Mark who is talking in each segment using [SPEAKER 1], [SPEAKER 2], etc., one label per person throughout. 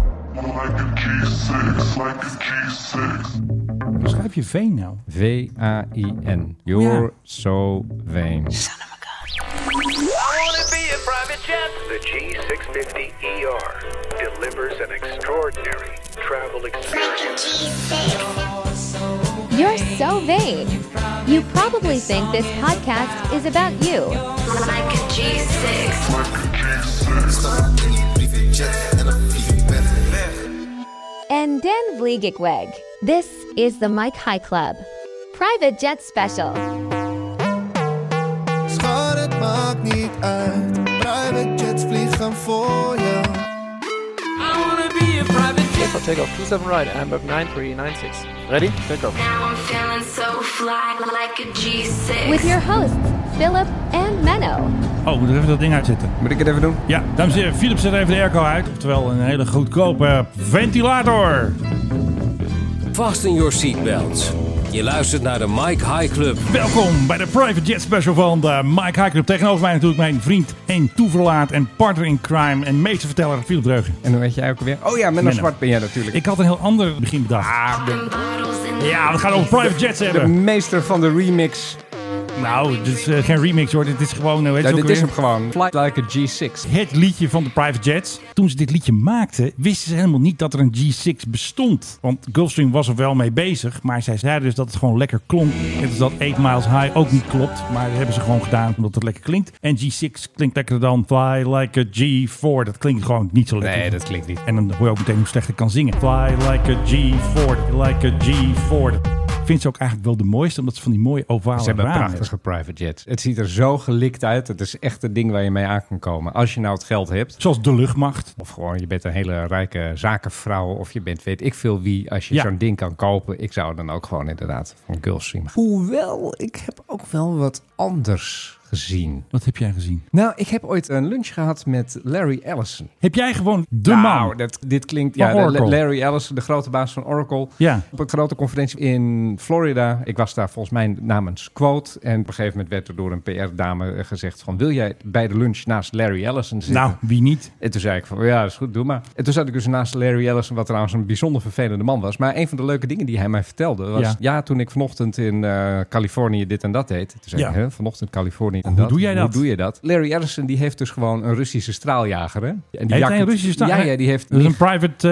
[SPEAKER 1] like a G6, like a G6.
[SPEAKER 2] Hoe schrijf je veen nou?
[SPEAKER 3] V-A-I-N. You're so vain.
[SPEAKER 4] I wanna be a private jet.
[SPEAKER 5] The G650ER E delivers an extraordinary travel experience.
[SPEAKER 6] You're so vain. You probably think this podcast is about you.
[SPEAKER 7] Like a G6.
[SPEAKER 6] And Den Vliegekweg. This is the Mike High Club. Private Jet Special.
[SPEAKER 8] Schat, het maakt niet uit. Private jets vliegen voor je.
[SPEAKER 9] Yes, I'll take off. 27 right, I'm at 9396. Ready? Take off.
[SPEAKER 7] Now I'm feeling so fly like a G6.
[SPEAKER 6] With your hosts, Philip and Menno.
[SPEAKER 2] Oh, moet ik even dat ding uitzetten.
[SPEAKER 3] Moet ik het even doen?
[SPEAKER 2] Ja, dames en heren, Philips zet even de airco uit. Oftewel, een hele goedkope ventilator.
[SPEAKER 10] Fasten your seatbelts. Je luistert naar de Mike High Club.
[SPEAKER 2] Welkom bij de Private Jet Special van de Mike High Club. Tegenover mij natuurlijk mijn vriend en toeverlaat en partner in crime en meesterverteller Philip Dreugen.
[SPEAKER 3] En hoe weet jij ook alweer? Oh ja, met een
[SPEAKER 2] Menno.
[SPEAKER 3] zwart ben jij natuurlijk.
[SPEAKER 2] Ik had een heel ander begin bedacht. ja, we gaan over private jets
[SPEAKER 3] Ah, de
[SPEAKER 2] hebben.
[SPEAKER 3] meester van de remix.
[SPEAKER 2] Nou, dit is eh, geen remix hoor. Dit is gewoon... eh, weet
[SPEAKER 3] Ja,
[SPEAKER 2] je ook
[SPEAKER 3] dit is
[SPEAKER 2] weer?
[SPEAKER 3] hem gewoon. Fly like a G6.
[SPEAKER 2] het liedje van de Private Jets. Toen ze dit liedje maakten, wisten ze helemaal niet dat er een G6 bestond. Want Gulfstream was er wel mee bezig, maar zij zeiden dus dat het gewoon lekker klonk. Net als dat 8 Miles High ook niet klopt, maar dat hebben ze gewoon gedaan omdat het lekker klinkt. En G6 klinkt lekkerder dan Fly Like a G4. Dat klinkt gewoon niet zo lekker.
[SPEAKER 3] Nee, dat klinkt niet.
[SPEAKER 2] En dan hoor je ook meteen hoe slecht ik kan zingen. Fly like a G4, like a G4. Ik vind ze ook eigenlijk wel de mooiste, omdat ze van die mooie ovale
[SPEAKER 3] Ze hebben
[SPEAKER 2] ramen
[SPEAKER 3] prachtige private jets. Het ziet er zo gelikt uit. Het is echt een ding waar je mee aan kan komen. Als je nou het geld hebt.
[SPEAKER 2] Zoals de luchtmacht.
[SPEAKER 3] Of gewoon je bent een hele rijke zakenvrouw. Of je bent weet ik veel wie. Als je
[SPEAKER 2] Ja.
[SPEAKER 3] zo'n ding kan kopen. Ik zou dan ook gewoon inderdaad van Gulfstream. Hoewel, ik heb ook wel wat anders gezien.
[SPEAKER 2] Wat heb jij gezien?
[SPEAKER 3] Nou, ik heb ooit een lunch gehad met Larry Ellison.
[SPEAKER 2] Heb jij gewoon de
[SPEAKER 3] nou,
[SPEAKER 2] man?
[SPEAKER 3] Dat, dit klinkt...
[SPEAKER 2] Van
[SPEAKER 3] Ja, de-
[SPEAKER 2] Oracle.
[SPEAKER 3] Larry Ellison, de grote baas van Oracle.
[SPEAKER 2] Ja.
[SPEAKER 3] Op een grote conferentie in Florida. Ik was daar volgens mij namens Quote. En op een gegeven moment werd er door een PR-dame gezegd van... wil jij bij de lunch naast Larry Ellison zitten?
[SPEAKER 2] Nou, wie niet?
[SPEAKER 3] En toen zei ik van, ja, dat is goed, doe maar. En toen zat ik dus naast Larry Ellison, wat trouwens een bijzonder vervelende man was. Maar een van de leuke dingen die hij mij vertelde was...
[SPEAKER 2] Ja.
[SPEAKER 3] Ja, toen ik vanochtend in eh, Californië dit en dat deed. Toen zei
[SPEAKER 2] Ja.
[SPEAKER 3] ik, hè, vanochtend Californië en
[SPEAKER 2] Hoe
[SPEAKER 3] dat.
[SPEAKER 2] doe jij dat?
[SPEAKER 3] Hoe doe je dat? Larry Ellison, die heeft dus gewoon een Russische straaljager, hè? En die
[SPEAKER 2] Heeft
[SPEAKER 3] jakt
[SPEAKER 2] hij een
[SPEAKER 3] het-
[SPEAKER 2] Russische straal?
[SPEAKER 3] Ja, ja, die heeft...
[SPEAKER 2] Dat is een private...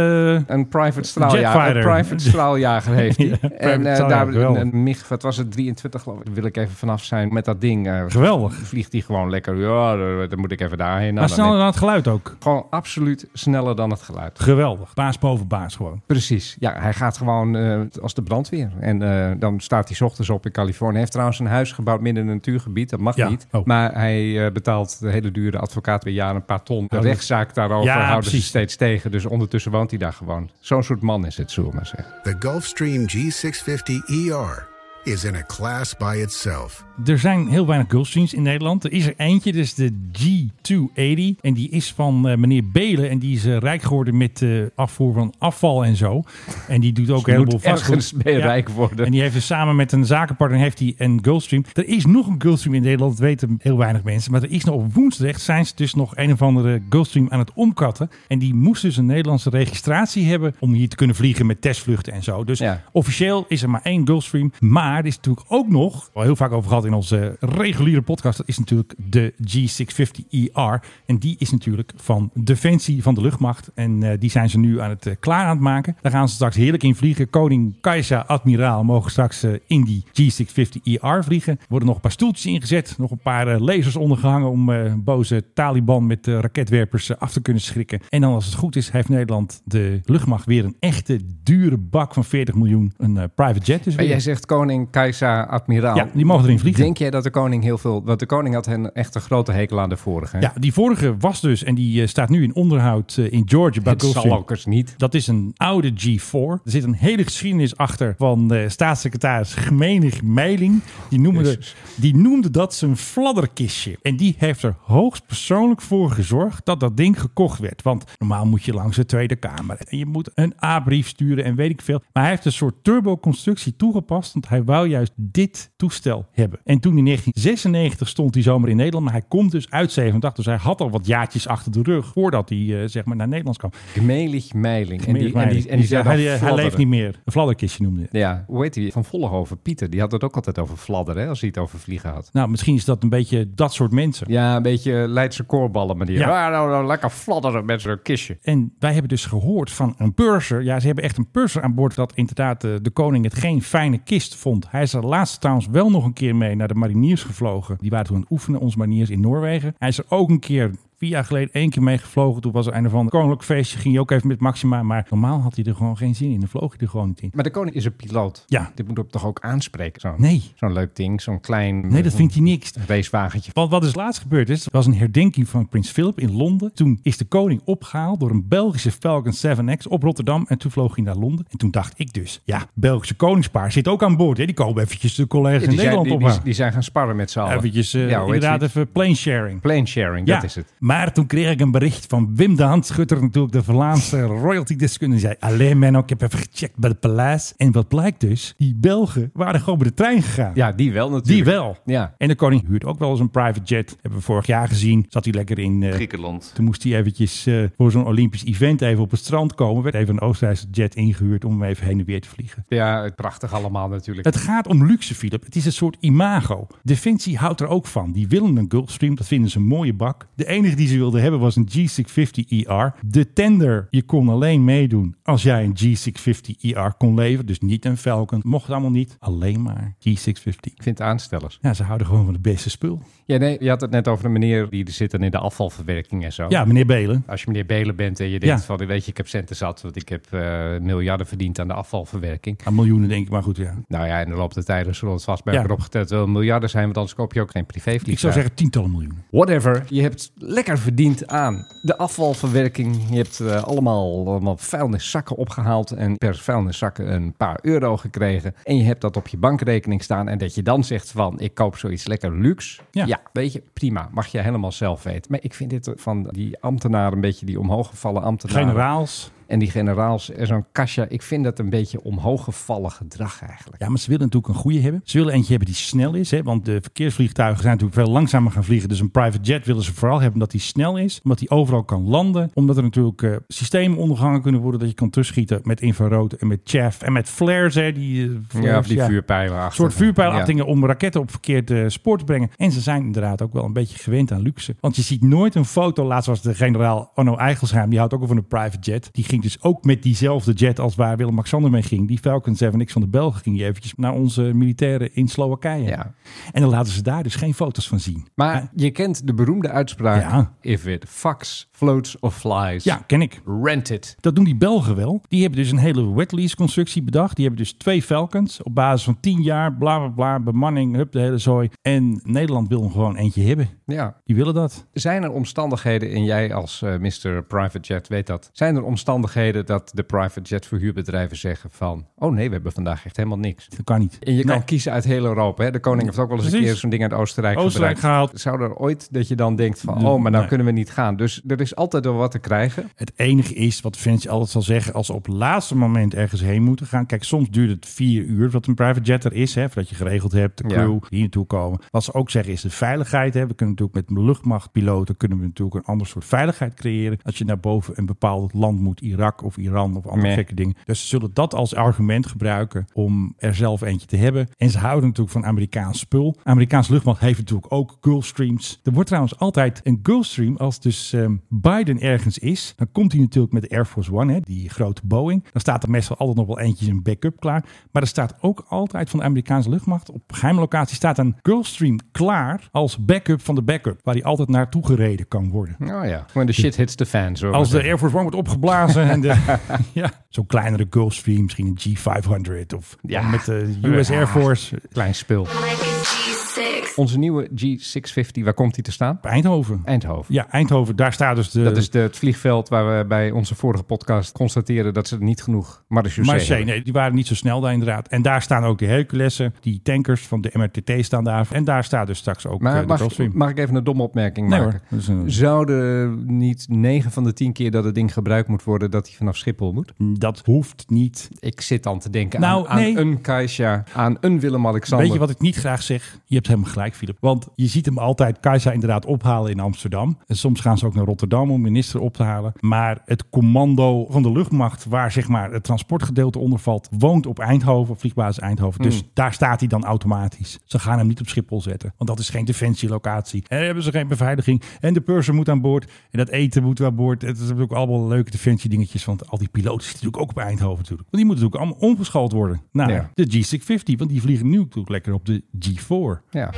[SPEAKER 2] eh,
[SPEAKER 3] Een private straaljager.
[SPEAKER 2] Jetfighter.
[SPEAKER 3] Een private straaljager heeft hij.
[SPEAKER 2] Ja,
[SPEAKER 3] en
[SPEAKER 2] private
[SPEAKER 3] eh, daar
[SPEAKER 2] straaljager,
[SPEAKER 3] een,
[SPEAKER 2] geweldig.
[SPEAKER 3] een MiG, wat was het, 23 geloof ik. Daar wil ik even vanaf zijn met dat ding. eh,
[SPEAKER 2] geweldig.
[SPEAKER 3] vliegt hij gewoon lekker. Ja, dan- dan moet ik even daarheen. Nou,
[SPEAKER 2] maar
[SPEAKER 3] dan
[SPEAKER 2] sneller
[SPEAKER 3] neem-
[SPEAKER 2] dan het geluid ook.
[SPEAKER 3] Gewoon absoluut sneller dan het geluid.
[SPEAKER 2] Geweldig. Baas boven baas gewoon.
[SPEAKER 3] Precies. Ja, hij gaat gewoon eh, als de brandweer. En eh, dan staat hij 's ochtends op in Californië. Hij heeft trouwens een huis gebouwd midden in een natuurgebied. Dat mag
[SPEAKER 2] Ja.
[SPEAKER 3] niet.
[SPEAKER 2] Oh.
[SPEAKER 3] Maar hij eh, betaalt de hele dure advocaat per jaar een paar ton. De
[SPEAKER 2] Oh, dat-
[SPEAKER 3] rechtszaak daarover
[SPEAKER 2] Ja,
[SPEAKER 3] houden
[SPEAKER 2] precies.
[SPEAKER 3] ze steeds tegen. Dus ondertussen woont hij daar gewoon. Zo'n soort man is het, zullen we maar zeggen.
[SPEAKER 11] The Gulfstream G650ER E is in a class by itself.
[SPEAKER 2] Er zijn heel weinig Gulfstreams in Nederland. Er is er eentje, dat is de G280. En die is van eh, meneer Belen. En die is eh, rijk geworden met eh, afvoer van afval en zo. En die doet ook
[SPEAKER 3] Je
[SPEAKER 2] heel
[SPEAKER 3] moet
[SPEAKER 2] veel vastgoed.
[SPEAKER 3] ergens mee
[SPEAKER 2] Ja.
[SPEAKER 3] rijk worden.
[SPEAKER 2] En die heeft dus samen met een zakenpartner heeft hij een Gulfstream. Er is nog een Gulfstream in Nederland, dat weten heel weinig mensen. Maar er is nog op woensdag zijn ze dus nog een of andere Gulfstream aan het omkatten. En die moest dus een Nederlandse registratie hebben om hier te kunnen vliegen met testvluchten en zo. Dus
[SPEAKER 3] Ja.
[SPEAKER 2] officieel is er maar één Gulfstream. Maar er is natuurlijk ook nog, al heel vaak over gehad in onze eh, reguliere podcast, dat is natuurlijk de G650ER. E En die is natuurlijk van Defensie, van de luchtmacht. En eh, die zijn ze nu aan het eh, klaar aan het maken. Daar gaan ze straks heerlijk in vliegen. Koning Kajsa, admiraal, mogen straks eh, in die G650ER E vliegen. Er worden nog een paar stoeltjes ingezet, nog een paar eh, lasers ondergehangen om eh, boze Taliban met eh, raketwerpers eh, af te kunnen schrikken. En dan als het goed is, heeft Nederland de luchtmacht weer een echte dure bak van 40 miljoen. Een eh, private jet dus
[SPEAKER 3] Maar
[SPEAKER 2] weer.
[SPEAKER 3] jij zegt koning, keizer, admiraal.
[SPEAKER 2] Ja, die mogen erin vliegen.
[SPEAKER 3] Denk jij dat de koning heel veel... Want de koning had hen echt een grote hekel aan de vorige. hè?
[SPEAKER 2] Ja, die vorige was dus, en die eh, staat nu in onderhoud eh, in Georgia bij
[SPEAKER 3] Het zal
[SPEAKER 2] Gulfstream.
[SPEAKER 3] ook eens niet.
[SPEAKER 2] Dat is een oude G4. Er zit een hele geschiedenis achter van eh, staatssecretaris Gmenig Meiling. Die noemde,
[SPEAKER 3] Jezus.
[SPEAKER 2] die noemde dat zijn fladderkistje. En die heeft er hoogst persoonlijk voor gezorgd dat dat ding gekocht werd. Want normaal moet je langs de Tweede Kamer. En je moet een A-brief sturen en weet ik veel. Maar hij heeft een soort turboconstructie toegepast. Want hij wou juist dit toestel hebben. En toen in 1996 stond hij zomaar in Nederland. Maar hij komt dus uit 87. Dus hij had al wat jaartjes achter de rug voordat hij eh, zeg maar naar Nederland kwam.
[SPEAKER 3] Gmelig Meiling. En die, en
[SPEAKER 2] Meiling.
[SPEAKER 3] die, en die zei dan
[SPEAKER 2] hij, hij
[SPEAKER 3] fladderen.
[SPEAKER 2] leeft niet meer. Een fladderkistje noemde hij.
[SPEAKER 3] Ja, hoe heet die? Van Vollenhoven, Pieter. Die had het ook altijd over fladderen, hè, als hij het over vliegen had.
[SPEAKER 2] Nou, misschien is dat een beetje dat soort mensen.
[SPEAKER 3] Ja, een beetje Leidse koorballen manier.
[SPEAKER 2] Ja.
[SPEAKER 3] Ah, nou, nou, lekker fladderen met zo'n kistje.
[SPEAKER 2] En wij hebben dus gehoord van een purser. Ja, ze hebben echt een purser aan boord. Dat inderdaad eh, de koning het geen fijne kist vond. Hij is er laatst trouwens wel nog een keer mee naar de mariniers gevlogen. Die waren toen aan het oefenen, onze mariniers in Noorwegen. Hij is er ook een keer... Vier jaar geleden één keer mee gevlogen. Toen was er een van de koninklijk feestje. Ging hij ook even met Maxima. Maar normaal had hij er gewoon geen zin in. Dan vloog hij er gewoon niet in.
[SPEAKER 3] Maar de koning is een piloot.
[SPEAKER 2] Ja.
[SPEAKER 3] Dit moet hem toch ook aanspreken? Zo'n,
[SPEAKER 2] Nee.
[SPEAKER 3] Zo'n leuk ding, zo'n klein... eh,
[SPEAKER 2] Nee, dat vindt hij niks.
[SPEAKER 3] Racewagentje.
[SPEAKER 2] Want wat is laatst gebeurd is, er was een herdenking van Prins Philip in Londen. Toen is de koning opgehaald door een Belgische Falcon 7X op Rotterdam. En toen vloog hij naar Londen. En toen dacht ik dus, ja, Belgische koningspaar zit ook aan boord. Hè? Die komen eventjes de collega's in
[SPEAKER 3] die, zijn,
[SPEAKER 2] Nederland
[SPEAKER 3] die, die,
[SPEAKER 2] ophalen.
[SPEAKER 3] die zijn gaan sparren met z'n allen.
[SPEAKER 2] Eventjes, eh,
[SPEAKER 3] Ja, hoe heet
[SPEAKER 2] inderdaad,
[SPEAKER 3] die?
[SPEAKER 2] even plane sharing.
[SPEAKER 3] Plane sharing,
[SPEAKER 2] Ja,
[SPEAKER 3] dat is het.
[SPEAKER 2] maar toen kreeg ik een bericht van Wim de Handschutter, natuurlijk de Vlaamse royalty-deskundige. Die zei, alleen men, ik heb even gecheckt bij het paleis. En wat blijkt dus, die Belgen waren gewoon bij de trein gegaan.
[SPEAKER 3] Ja, die wel
[SPEAKER 2] Die
[SPEAKER 3] natuurlijk.
[SPEAKER 2] wel.
[SPEAKER 3] Ja.
[SPEAKER 2] En de koning huurt ook wel eens een private jet. Hebben we vorig jaar gezien. Zat hij lekker in eh,
[SPEAKER 12] Griekenland.
[SPEAKER 2] Toen moest hij eventjes eh, voor zo'n Olympisch event even op het strand komen. Werd even een Oostenrijkse jet ingehuurd om hem even heen en weer te vliegen.
[SPEAKER 3] Ja, prachtig allemaal natuurlijk.
[SPEAKER 2] Het gaat om luxe, Philip. Het is een soort imago. Defensie houdt er ook van. Die willen een Gulfstream. Dat vinden ze een mooie bak. De enige die ze wilden hebben was een G650ER. E De tender, je kon alleen meedoen als jij een G650ER kon leveren. Dus niet een Falcon. Mocht het allemaal niet. Alleen maar G650.
[SPEAKER 3] Ik vind aanstellers.
[SPEAKER 2] Ja, ze houden gewoon van het beste spul.
[SPEAKER 3] Ja, nee, je had het net over de meneer die er zit dan in de afvalverwerking en zo.
[SPEAKER 2] Ja, meneer Belen.
[SPEAKER 3] Als je meneer Belen bent en je denkt
[SPEAKER 2] Ja.
[SPEAKER 3] van, weet je, ik heb centen zat, want ik heb eh, miljarden verdiend aan de afvalverwerking.
[SPEAKER 2] Aan miljoenen denk ik, maar goed ja.
[SPEAKER 3] Nou ja, in de loop der tijden zullen we het vast bij
[SPEAKER 2] Ja.
[SPEAKER 3] elkaar opgeteld wel miljarden zijn, want anders koop je ook geen privévliegtuig.
[SPEAKER 2] Ik zou zeggen tientallen miljoenen.
[SPEAKER 3] Whatever, je hebt lekker verdiend aan de afvalverwerking. Je hebt eh, allemaal, allemaal vuilniszakken opgehaald en per vuilniszak een paar euro gekregen. En je hebt dat op je bankrekening staan. En dat je dan zegt van, ik koop zoiets lekker luxe.
[SPEAKER 2] Ja.
[SPEAKER 3] weet je, prima. Mag je helemaal zelf weten. Maar ik vind dit van die ambtenaren, een beetje die omhooggevallen ambtenaren.
[SPEAKER 2] Generaals.
[SPEAKER 3] En die generaals en zo'n kasja, ik vind dat een beetje omhooggevallen gedrag eigenlijk.
[SPEAKER 2] Ja, maar ze willen natuurlijk een goede hebben. Ze willen eentje hebben die snel is. Hè? Want de verkeersvliegtuigen zijn natuurlijk veel langzamer gaan vliegen. Dus een private jet willen ze vooral hebben omdat die snel is. Omdat die overal kan landen. Omdat er natuurlijk eh, systemen ondergangen kunnen worden. Dat je kan terugschieten met infrarood en met chaff. En met flares. Hè? Die, eh, flares,
[SPEAKER 3] of die vuurpijlen
[SPEAKER 2] Een
[SPEAKER 3] achter.
[SPEAKER 2] soort
[SPEAKER 3] Ja.
[SPEAKER 2] vuurpijlachtingen om raketten op verkeerd eh, spoor te brengen. En ze zijn inderdaad ook wel een beetje gewend aan luxe. Want je ziet nooit een foto. Laatst was de generaal Arno Eigelsheim. Die houdt ook al van een private jet. Die ging dus ook met diezelfde jet als waar Willem-Alexander mee ging. Die Falcon 7X van de Belgen ging die eventjes naar onze militairen in Slowakije.
[SPEAKER 3] Ja.
[SPEAKER 2] En dan laten ze daar dus geen foto's van zien.
[SPEAKER 3] Maar je kent de beroemde uitspraak:
[SPEAKER 2] Ja.
[SPEAKER 3] If it fucks, floats of flies.
[SPEAKER 2] Ja, ken ik.
[SPEAKER 3] Rent it.
[SPEAKER 2] Dat doen die Belgen wel. Die hebben dus een hele wet lease constructie bedacht. Die hebben dus twee Falcons op basis van 10 jaar, bla bla bla, bemanning, hup, de hele zooi. En Nederland wil hem gewoon eentje hebben.
[SPEAKER 3] Ja.
[SPEAKER 2] Die willen dat.
[SPEAKER 3] Zijn er omstandigheden, en jij als eh, Mr. Private Jet weet dat, zijn er omstandigheden dat de private jet verhuurbedrijven zeggen van, oh nee, we hebben vandaag echt helemaal niks.
[SPEAKER 2] Dat kan niet.
[SPEAKER 3] En je kan
[SPEAKER 2] Nee.
[SPEAKER 3] kiezen uit heel Europa. Hè? De koning heeft ook wel eens een
[SPEAKER 2] Precies.
[SPEAKER 3] keer zo'n ding uit Oostenrijk,
[SPEAKER 2] Oostenrijk
[SPEAKER 3] gebruikt. Zou er ooit dat je dan denkt van, oh, maar nou
[SPEAKER 2] Nee.
[SPEAKER 3] kunnen we niet gaan. Dus er is altijd wel wat te krijgen.
[SPEAKER 2] Het enige is wat Vince altijd zal zeggen als ze op het laatste moment ergens heen moeten gaan. Kijk, soms duurt het vier uur wat een private jet er is, hè, voordat je geregeld hebt, de crew
[SPEAKER 3] Ja.
[SPEAKER 2] die hier naartoe komen. Wat ze ook zeggen is de veiligheid. Hè. We kunnen natuurlijk met luchtmachtpiloten kunnen we natuurlijk een ander soort veiligheid creëren. Als je naar boven een bepaald land moet, Irak of Iran of andere
[SPEAKER 3] Meh.
[SPEAKER 2] gekke dingen. Dus ze zullen dat als argument gebruiken om er zelf eentje te hebben. En ze houden natuurlijk van Amerikaans spul. Amerikaans luchtmacht heeft natuurlijk ook Gulfstreams. Er wordt trouwens altijd een Gulfstream als dus ehm, Biden ergens is. Dan komt hij natuurlijk met de Air Force One, hè, die grote Boeing. Dan staat er meestal altijd nog wel eentje in backup klaar. Maar er staat ook altijd van de Amerikaanse luchtmacht op geheime locatie staat een Gulfstream klaar als backup van de backup. Waar hij altijd naartoe gereden kan worden.
[SPEAKER 3] Nou ja, when the shit hits the fan. zullen we
[SPEAKER 2] Als de
[SPEAKER 3] zeggen.
[SPEAKER 2] Air Force One wordt opgeblazen en de, ja, zo'n kleinere Gulfstream, misschien een G500 of
[SPEAKER 3] Ja.
[SPEAKER 2] met de US Air Force.
[SPEAKER 3] Klein spul.
[SPEAKER 7] like a G6.
[SPEAKER 3] Onze nieuwe G650, waar komt die te staan?
[SPEAKER 2] Eindhoven.
[SPEAKER 3] Eindhoven.
[SPEAKER 2] Ja, Eindhoven, daar staat dus de...
[SPEAKER 3] Dat is de, het vliegveld waar we bij onze vorige podcast constateren dat ze er niet genoeg marechaussee
[SPEAKER 2] Marseille,
[SPEAKER 3] hebben.
[SPEAKER 2] nee, die waren niet zo snel daar inderdaad. En daar staan ook de Herculessen, die tankers van de MRTT staan daar. En daar staat dus straks ook eh,
[SPEAKER 3] Maar
[SPEAKER 2] de
[SPEAKER 3] mag,
[SPEAKER 2] Gulfstream.
[SPEAKER 3] ik- mag ik even een domme opmerking
[SPEAKER 2] Nee
[SPEAKER 3] maken?
[SPEAKER 2] hoor, dat is een-
[SPEAKER 3] Zouden niet 9 van de 10 keer dat het ding gebruikt moet worden, dat hij vanaf Schiphol moet?
[SPEAKER 2] Dat hoeft niet.
[SPEAKER 3] Ik zit dan te denken
[SPEAKER 2] Nou,
[SPEAKER 3] aan, aan
[SPEAKER 2] nee.
[SPEAKER 3] een Kaisha, aan een Willem-Alexander.
[SPEAKER 2] Weet je wat ik niet graag zeg? Je hebt helemaal gelijk, Philip. Want je ziet hem altijd Kajsa inderdaad ophalen in Amsterdam. En soms gaan ze ook naar Rotterdam om minister op te halen. Maar het commando van de luchtmacht, waar zeg maar het transportgedeelte onder valt, woont op Eindhoven, op vliegbasis Eindhoven. Dus daar staat hij dan automatisch. Ze gaan hem niet op Schiphol zetten, want dat is geen defensielocatie. En daar hebben ze geen beveiliging. En de purser moet aan boord. En dat eten moet aan boord. Het is ook allemaal leuke defensiedingetjes, want al die piloten zitten natuurlijk ook op Eindhoven natuurlijk. Want die moeten natuurlijk allemaal omgeschoold worden. Nou,
[SPEAKER 3] Ja.
[SPEAKER 2] de G650, want die vliegen nu natuurlijk lekker op de G4.
[SPEAKER 3] Ja.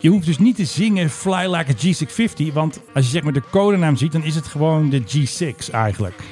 [SPEAKER 2] Je hoeft dus niet te zingen Fly Like a G650, want als je zeg maar de codenaam ziet, dan is het gewoon de G6 eigenlijk.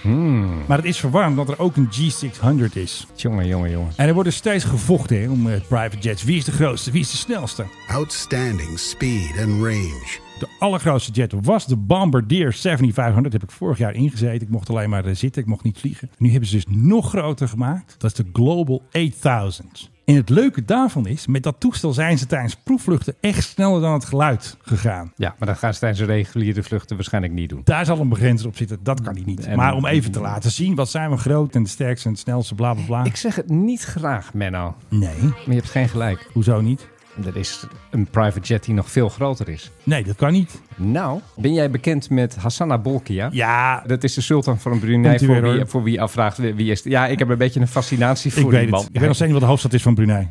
[SPEAKER 2] Maar het is verwarrend dat er ook een G600 is.
[SPEAKER 3] Jongen, jongen, jongen.
[SPEAKER 2] En er wordt dus steeds gevochten hè, om eh, private jets. Wie is de grootste? Wie is de snelste?
[SPEAKER 11] Outstanding speed and range.
[SPEAKER 2] De allergrootste jet was de Bombardier 7500. Daar heb ik vorig jaar ingezeten. Ik mocht alleen maar eh, zitten. Ik mocht niet vliegen. Nu hebben ze dus nog groter gemaakt. Dat is de Global 8000. En het leuke daarvan is, met dat toestel zijn ze tijdens proefvluchten echt sneller dan het geluid gegaan.
[SPEAKER 3] Ja, maar dat gaan ze tijdens de reguliere vluchten waarschijnlijk niet doen.
[SPEAKER 2] Daar zal een begrenzer op zitten. Dat kan hij niet.
[SPEAKER 3] En-
[SPEAKER 2] maar om even te laten zien, wat zijn we groot en de sterkste en de snelste, bla bla bla.
[SPEAKER 3] Ik zeg het niet graag, Menno.
[SPEAKER 2] Nee,
[SPEAKER 3] Maar je hebt geen gelijk.
[SPEAKER 2] hoezo niet?
[SPEAKER 3] Er is een private jet die nog veel groter is.
[SPEAKER 2] Nee, dat kan niet.
[SPEAKER 3] Nou, ben jij bekend met Hassana Bolkiah?
[SPEAKER 2] Ja,
[SPEAKER 3] Dat is de sultan van Brunei,
[SPEAKER 2] Komt-ie
[SPEAKER 3] voor
[SPEAKER 2] weer,
[SPEAKER 3] wie,
[SPEAKER 2] hoor.
[SPEAKER 3] voor wie afvraagt wie wie is... het. Ja, ik heb een beetje een fascinatie voor
[SPEAKER 2] ik
[SPEAKER 3] die
[SPEAKER 2] weet het.
[SPEAKER 3] man.
[SPEAKER 2] Ik weet nog steeds niet wat de hoofdstad is van Brunei.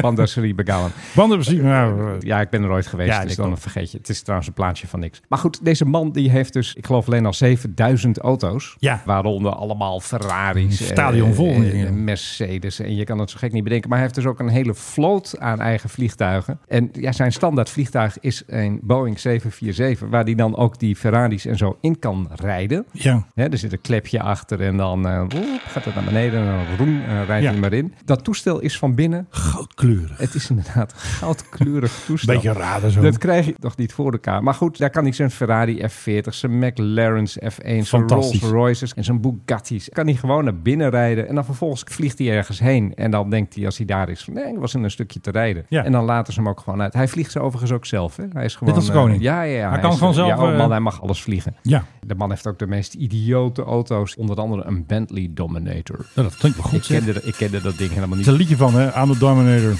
[SPEAKER 3] Bandasri Begawan.
[SPEAKER 2] Bandenbeziek. Nou, eh,
[SPEAKER 3] Ja, ik ben er ooit geweest,
[SPEAKER 2] Ja,
[SPEAKER 3] dus
[SPEAKER 2] ik
[SPEAKER 3] dan
[SPEAKER 2] ook.
[SPEAKER 3] vergeet je. Het is trouwens een plaatje van niks. Maar goed, deze man die heeft dus, ik geloof alleen al 7000 auto's.
[SPEAKER 2] Ja.
[SPEAKER 3] Waaronder allemaal Ferraris.
[SPEAKER 2] Een stadion
[SPEAKER 3] eh,
[SPEAKER 2] vol
[SPEAKER 3] eh,
[SPEAKER 2] met dingen.
[SPEAKER 3] eh, Mercedes. En je kan het zo gek niet bedenken. Maar hij heeft dus ook een hele vloot aan eigen vliegtuigen. En ja, zijn standaard vliegtuig is een Boeing 747. Waar die dan ook die Ferraris en zo in kan rijden.
[SPEAKER 2] ja.
[SPEAKER 3] Hè, er zit een klepje achter en dan eh, oep, gaat het naar beneden en dan roem, eh, rijdt
[SPEAKER 2] Ja.
[SPEAKER 3] hij maar in. Dat toestel is van binnen.
[SPEAKER 2] Goudkleurig.
[SPEAKER 3] Het is inderdaad een goudkleurig toestel.
[SPEAKER 2] Beetje raar zo.
[SPEAKER 3] Dat krijg je toch niet voor elkaar. Maar goed, daar kan hij zijn Ferrari F40, zijn McLaren's F1, zijn Rolls
[SPEAKER 2] Fantastisch.
[SPEAKER 3] Royces en zijn Bugatti's. Kan hij gewoon naar binnen rijden en dan vervolgens vliegt hij ergens heen. En dan denkt hij als hij daar is, van, nee, ik was in een stukje te rijden.
[SPEAKER 2] Ja.
[SPEAKER 3] En dan laten ze hem ook gewoon uit. Hij vliegt ze overigens ook zelf. Hè? Hij is gewoon...
[SPEAKER 2] als de
[SPEAKER 3] eh,
[SPEAKER 2] koning.
[SPEAKER 3] ja, ja, ja.
[SPEAKER 2] Hij kan
[SPEAKER 3] is,
[SPEAKER 2] gewoon
[SPEAKER 3] eh,
[SPEAKER 2] zelf,
[SPEAKER 3] Ja, oh
[SPEAKER 2] eh,
[SPEAKER 3] man, hij mag alles vliegen.
[SPEAKER 2] Ja,
[SPEAKER 3] De man heeft ook de meest idiote auto's. Onder andere een Bentley Dominator.
[SPEAKER 2] nou, dat klinkt wel
[SPEAKER 3] Ik
[SPEAKER 2] goed. zeg.
[SPEAKER 3] kende, ik kende dat ding
[SPEAKER 2] Het
[SPEAKER 3] helemaal
[SPEAKER 2] is
[SPEAKER 3] niet.
[SPEAKER 2] een liedje van, hè? I'm the Dominator.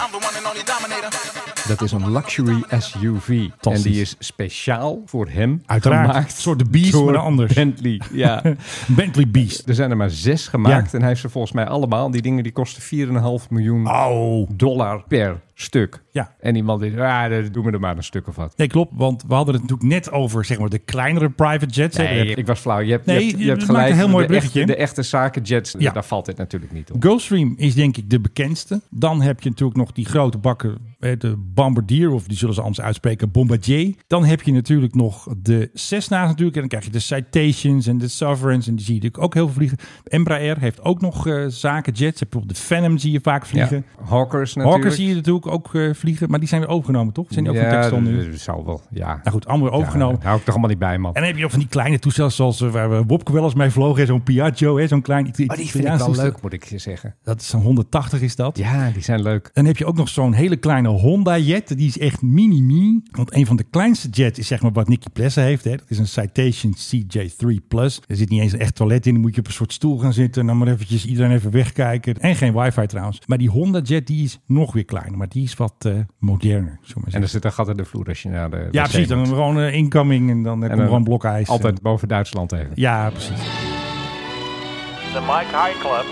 [SPEAKER 3] Dat is een luxury SUV. En die is speciaal voor hem
[SPEAKER 2] Uiteraard.
[SPEAKER 3] gemaakt.
[SPEAKER 2] Een soort de Beast,
[SPEAKER 3] door
[SPEAKER 2] maar dan anders.
[SPEAKER 3] Bentley, ja.
[SPEAKER 2] Bentley Beast.
[SPEAKER 3] er zijn er maar zes gemaakt.
[SPEAKER 2] Ja.
[SPEAKER 3] En hij heeft ze volgens mij allemaal. Die dingen die kosten 4,5 miljoen
[SPEAKER 2] Au.
[SPEAKER 3] dollar per stuk.
[SPEAKER 2] Ah. Ja.
[SPEAKER 3] En die man die ah, dat doen we er maar een stuk of wat.
[SPEAKER 2] Nee, klopt. Want we hadden het natuurlijk net over zeg maar, de kleinere private jets. hè.
[SPEAKER 3] Nee,
[SPEAKER 2] We hebben-
[SPEAKER 3] ik was flauw. Je hebt,
[SPEAKER 2] Nee,
[SPEAKER 3] je hebt, je
[SPEAKER 2] je
[SPEAKER 3] hebt
[SPEAKER 2] maakt
[SPEAKER 3] gelijk.
[SPEAKER 2] een heel mooi
[SPEAKER 3] de, echte,
[SPEAKER 2] bruggetje.
[SPEAKER 3] de echte zakenjets,
[SPEAKER 2] Ja.
[SPEAKER 3] daar valt dit natuurlijk niet op.
[SPEAKER 2] Gulfstream is denk ik de bekendste. Dan heb je natuurlijk nog die grote bakken, eh, de Bombardier, of die zullen ze anders uitspreken, Bombardier. Dan heb je natuurlijk nog de Cessna's natuurlijk. En dan krijg je de Citations en de Sovereigns. En die zie je natuurlijk ook heel veel vliegen. Embraer heeft ook nog eh, zakenjets. Je hebt Bijvoorbeeld de Phantom zie je vaak
[SPEAKER 3] Ja.
[SPEAKER 2] vliegen.
[SPEAKER 3] Hawkers natuurlijk.
[SPEAKER 2] Hawkers zie je natuurlijk ook eh, vliegen. Maar die zijn weer overgenomen, toch? Zijn die ook van
[SPEAKER 3] ja,
[SPEAKER 2] Textron nu?
[SPEAKER 3] dat- dat zal wel. Ja.
[SPEAKER 2] Nou goed, allemaal weer overgenomen.
[SPEAKER 3] Ja, daar hou ik toch allemaal niet bij, man.
[SPEAKER 2] En dan heb je ook van die kleine toestellen zoals eh, waar we Wopke wel eens mee vlogen. hè, Zo'n Piaggio, hè, zo'n klein Ita-
[SPEAKER 3] Maar Oh, die vind ik
[SPEAKER 2] Italiaans
[SPEAKER 3] wel
[SPEAKER 2] toestel.
[SPEAKER 3] leuk, moet ik je zeggen.
[SPEAKER 2] Dat is een 180 is dat.
[SPEAKER 3] Ja, die zijn leuk.
[SPEAKER 2] Dan heb je ook nog zo'n hele kleine Honda Jet. Die is echt mini-mini. Want een van de kleinste jets is zeg maar wat Nicky Plessen heeft. Hè. Dat is een Citation CJ3 Plus. Er zit niet eens een echt toilet in. Dan moet je op een soort stoel gaan zitten. En dan maar eventjes iedereen even wegkijken. En geen wifi trouwens. Maar die Honda Jet die is nog weer kleiner. Maar die is wat eh, moderner. Zullen we maar
[SPEAKER 3] En er
[SPEAKER 2] zeggen.
[SPEAKER 3] zit een gat in de vloer als je naar de
[SPEAKER 2] Ja,
[SPEAKER 3] wc
[SPEAKER 2] precies. Dan
[SPEAKER 3] moet.
[SPEAKER 2] gewoon eh, incoming en dan eh, komt
[SPEAKER 3] dan
[SPEAKER 2] er een blok ijs.
[SPEAKER 3] Altijd boven Duitsland even.
[SPEAKER 2] Ja, precies.
[SPEAKER 9] The Mike High Club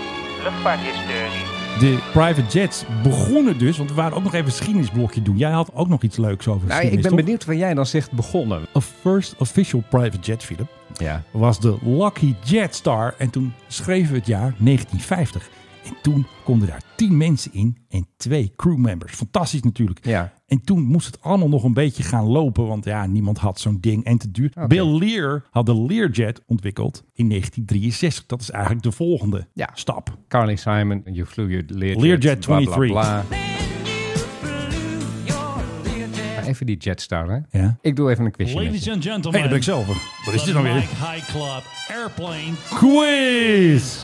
[SPEAKER 9] luchtvaarthistorie.
[SPEAKER 2] De private jets begonnen dus, want we waren ook nog even een geschiedenisblokje doen. Jij had ook nog iets leuks over
[SPEAKER 3] Nou, ik
[SPEAKER 2] geschiedenis,
[SPEAKER 3] ben
[SPEAKER 2] toch?
[SPEAKER 3] benieuwd waar jij dan zegt begonnen.
[SPEAKER 2] A first official private jet, Philip,
[SPEAKER 3] Ja.
[SPEAKER 2] was de Lucky Jetstar. En toen schreven we het jaar 1950. En toen konden daar 10 mensen in en twee crewmembers. Fantastisch natuurlijk.
[SPEAKER 3] Ja.
[SPEAKER 2] En toen moest het allemaal nog een beetje gaan lopen, want ja, niemand had zo'n ding en te duur. Bill Lear had de Learjet ontwikkeld in 1963. Dat is eigenlijk de volgende
[SPEAKER 3] Ja.
[SPEAKER 2] stap.
[SPEAKER 3] Carly Simon, You Flew Your Learjet.
[SPEAKER 2] Learjet
[SPEAKER 3] bla, bla,
[SPEAKER 2] 23.
[SPEAKER 3] bla. Even die Jetstar, hè?
[SPEAKER 2] Ja.
[SPEAKER 3] Ik doe even een quizje. met je.
[SPEAKER 12] and gentlemen.
[SPEAKER 2] Hey, dat ben ik zelf. Wat is dit nou weer?
[SPEAKER 12] High Club Airplane.
[SPEAKER 2] Quiz!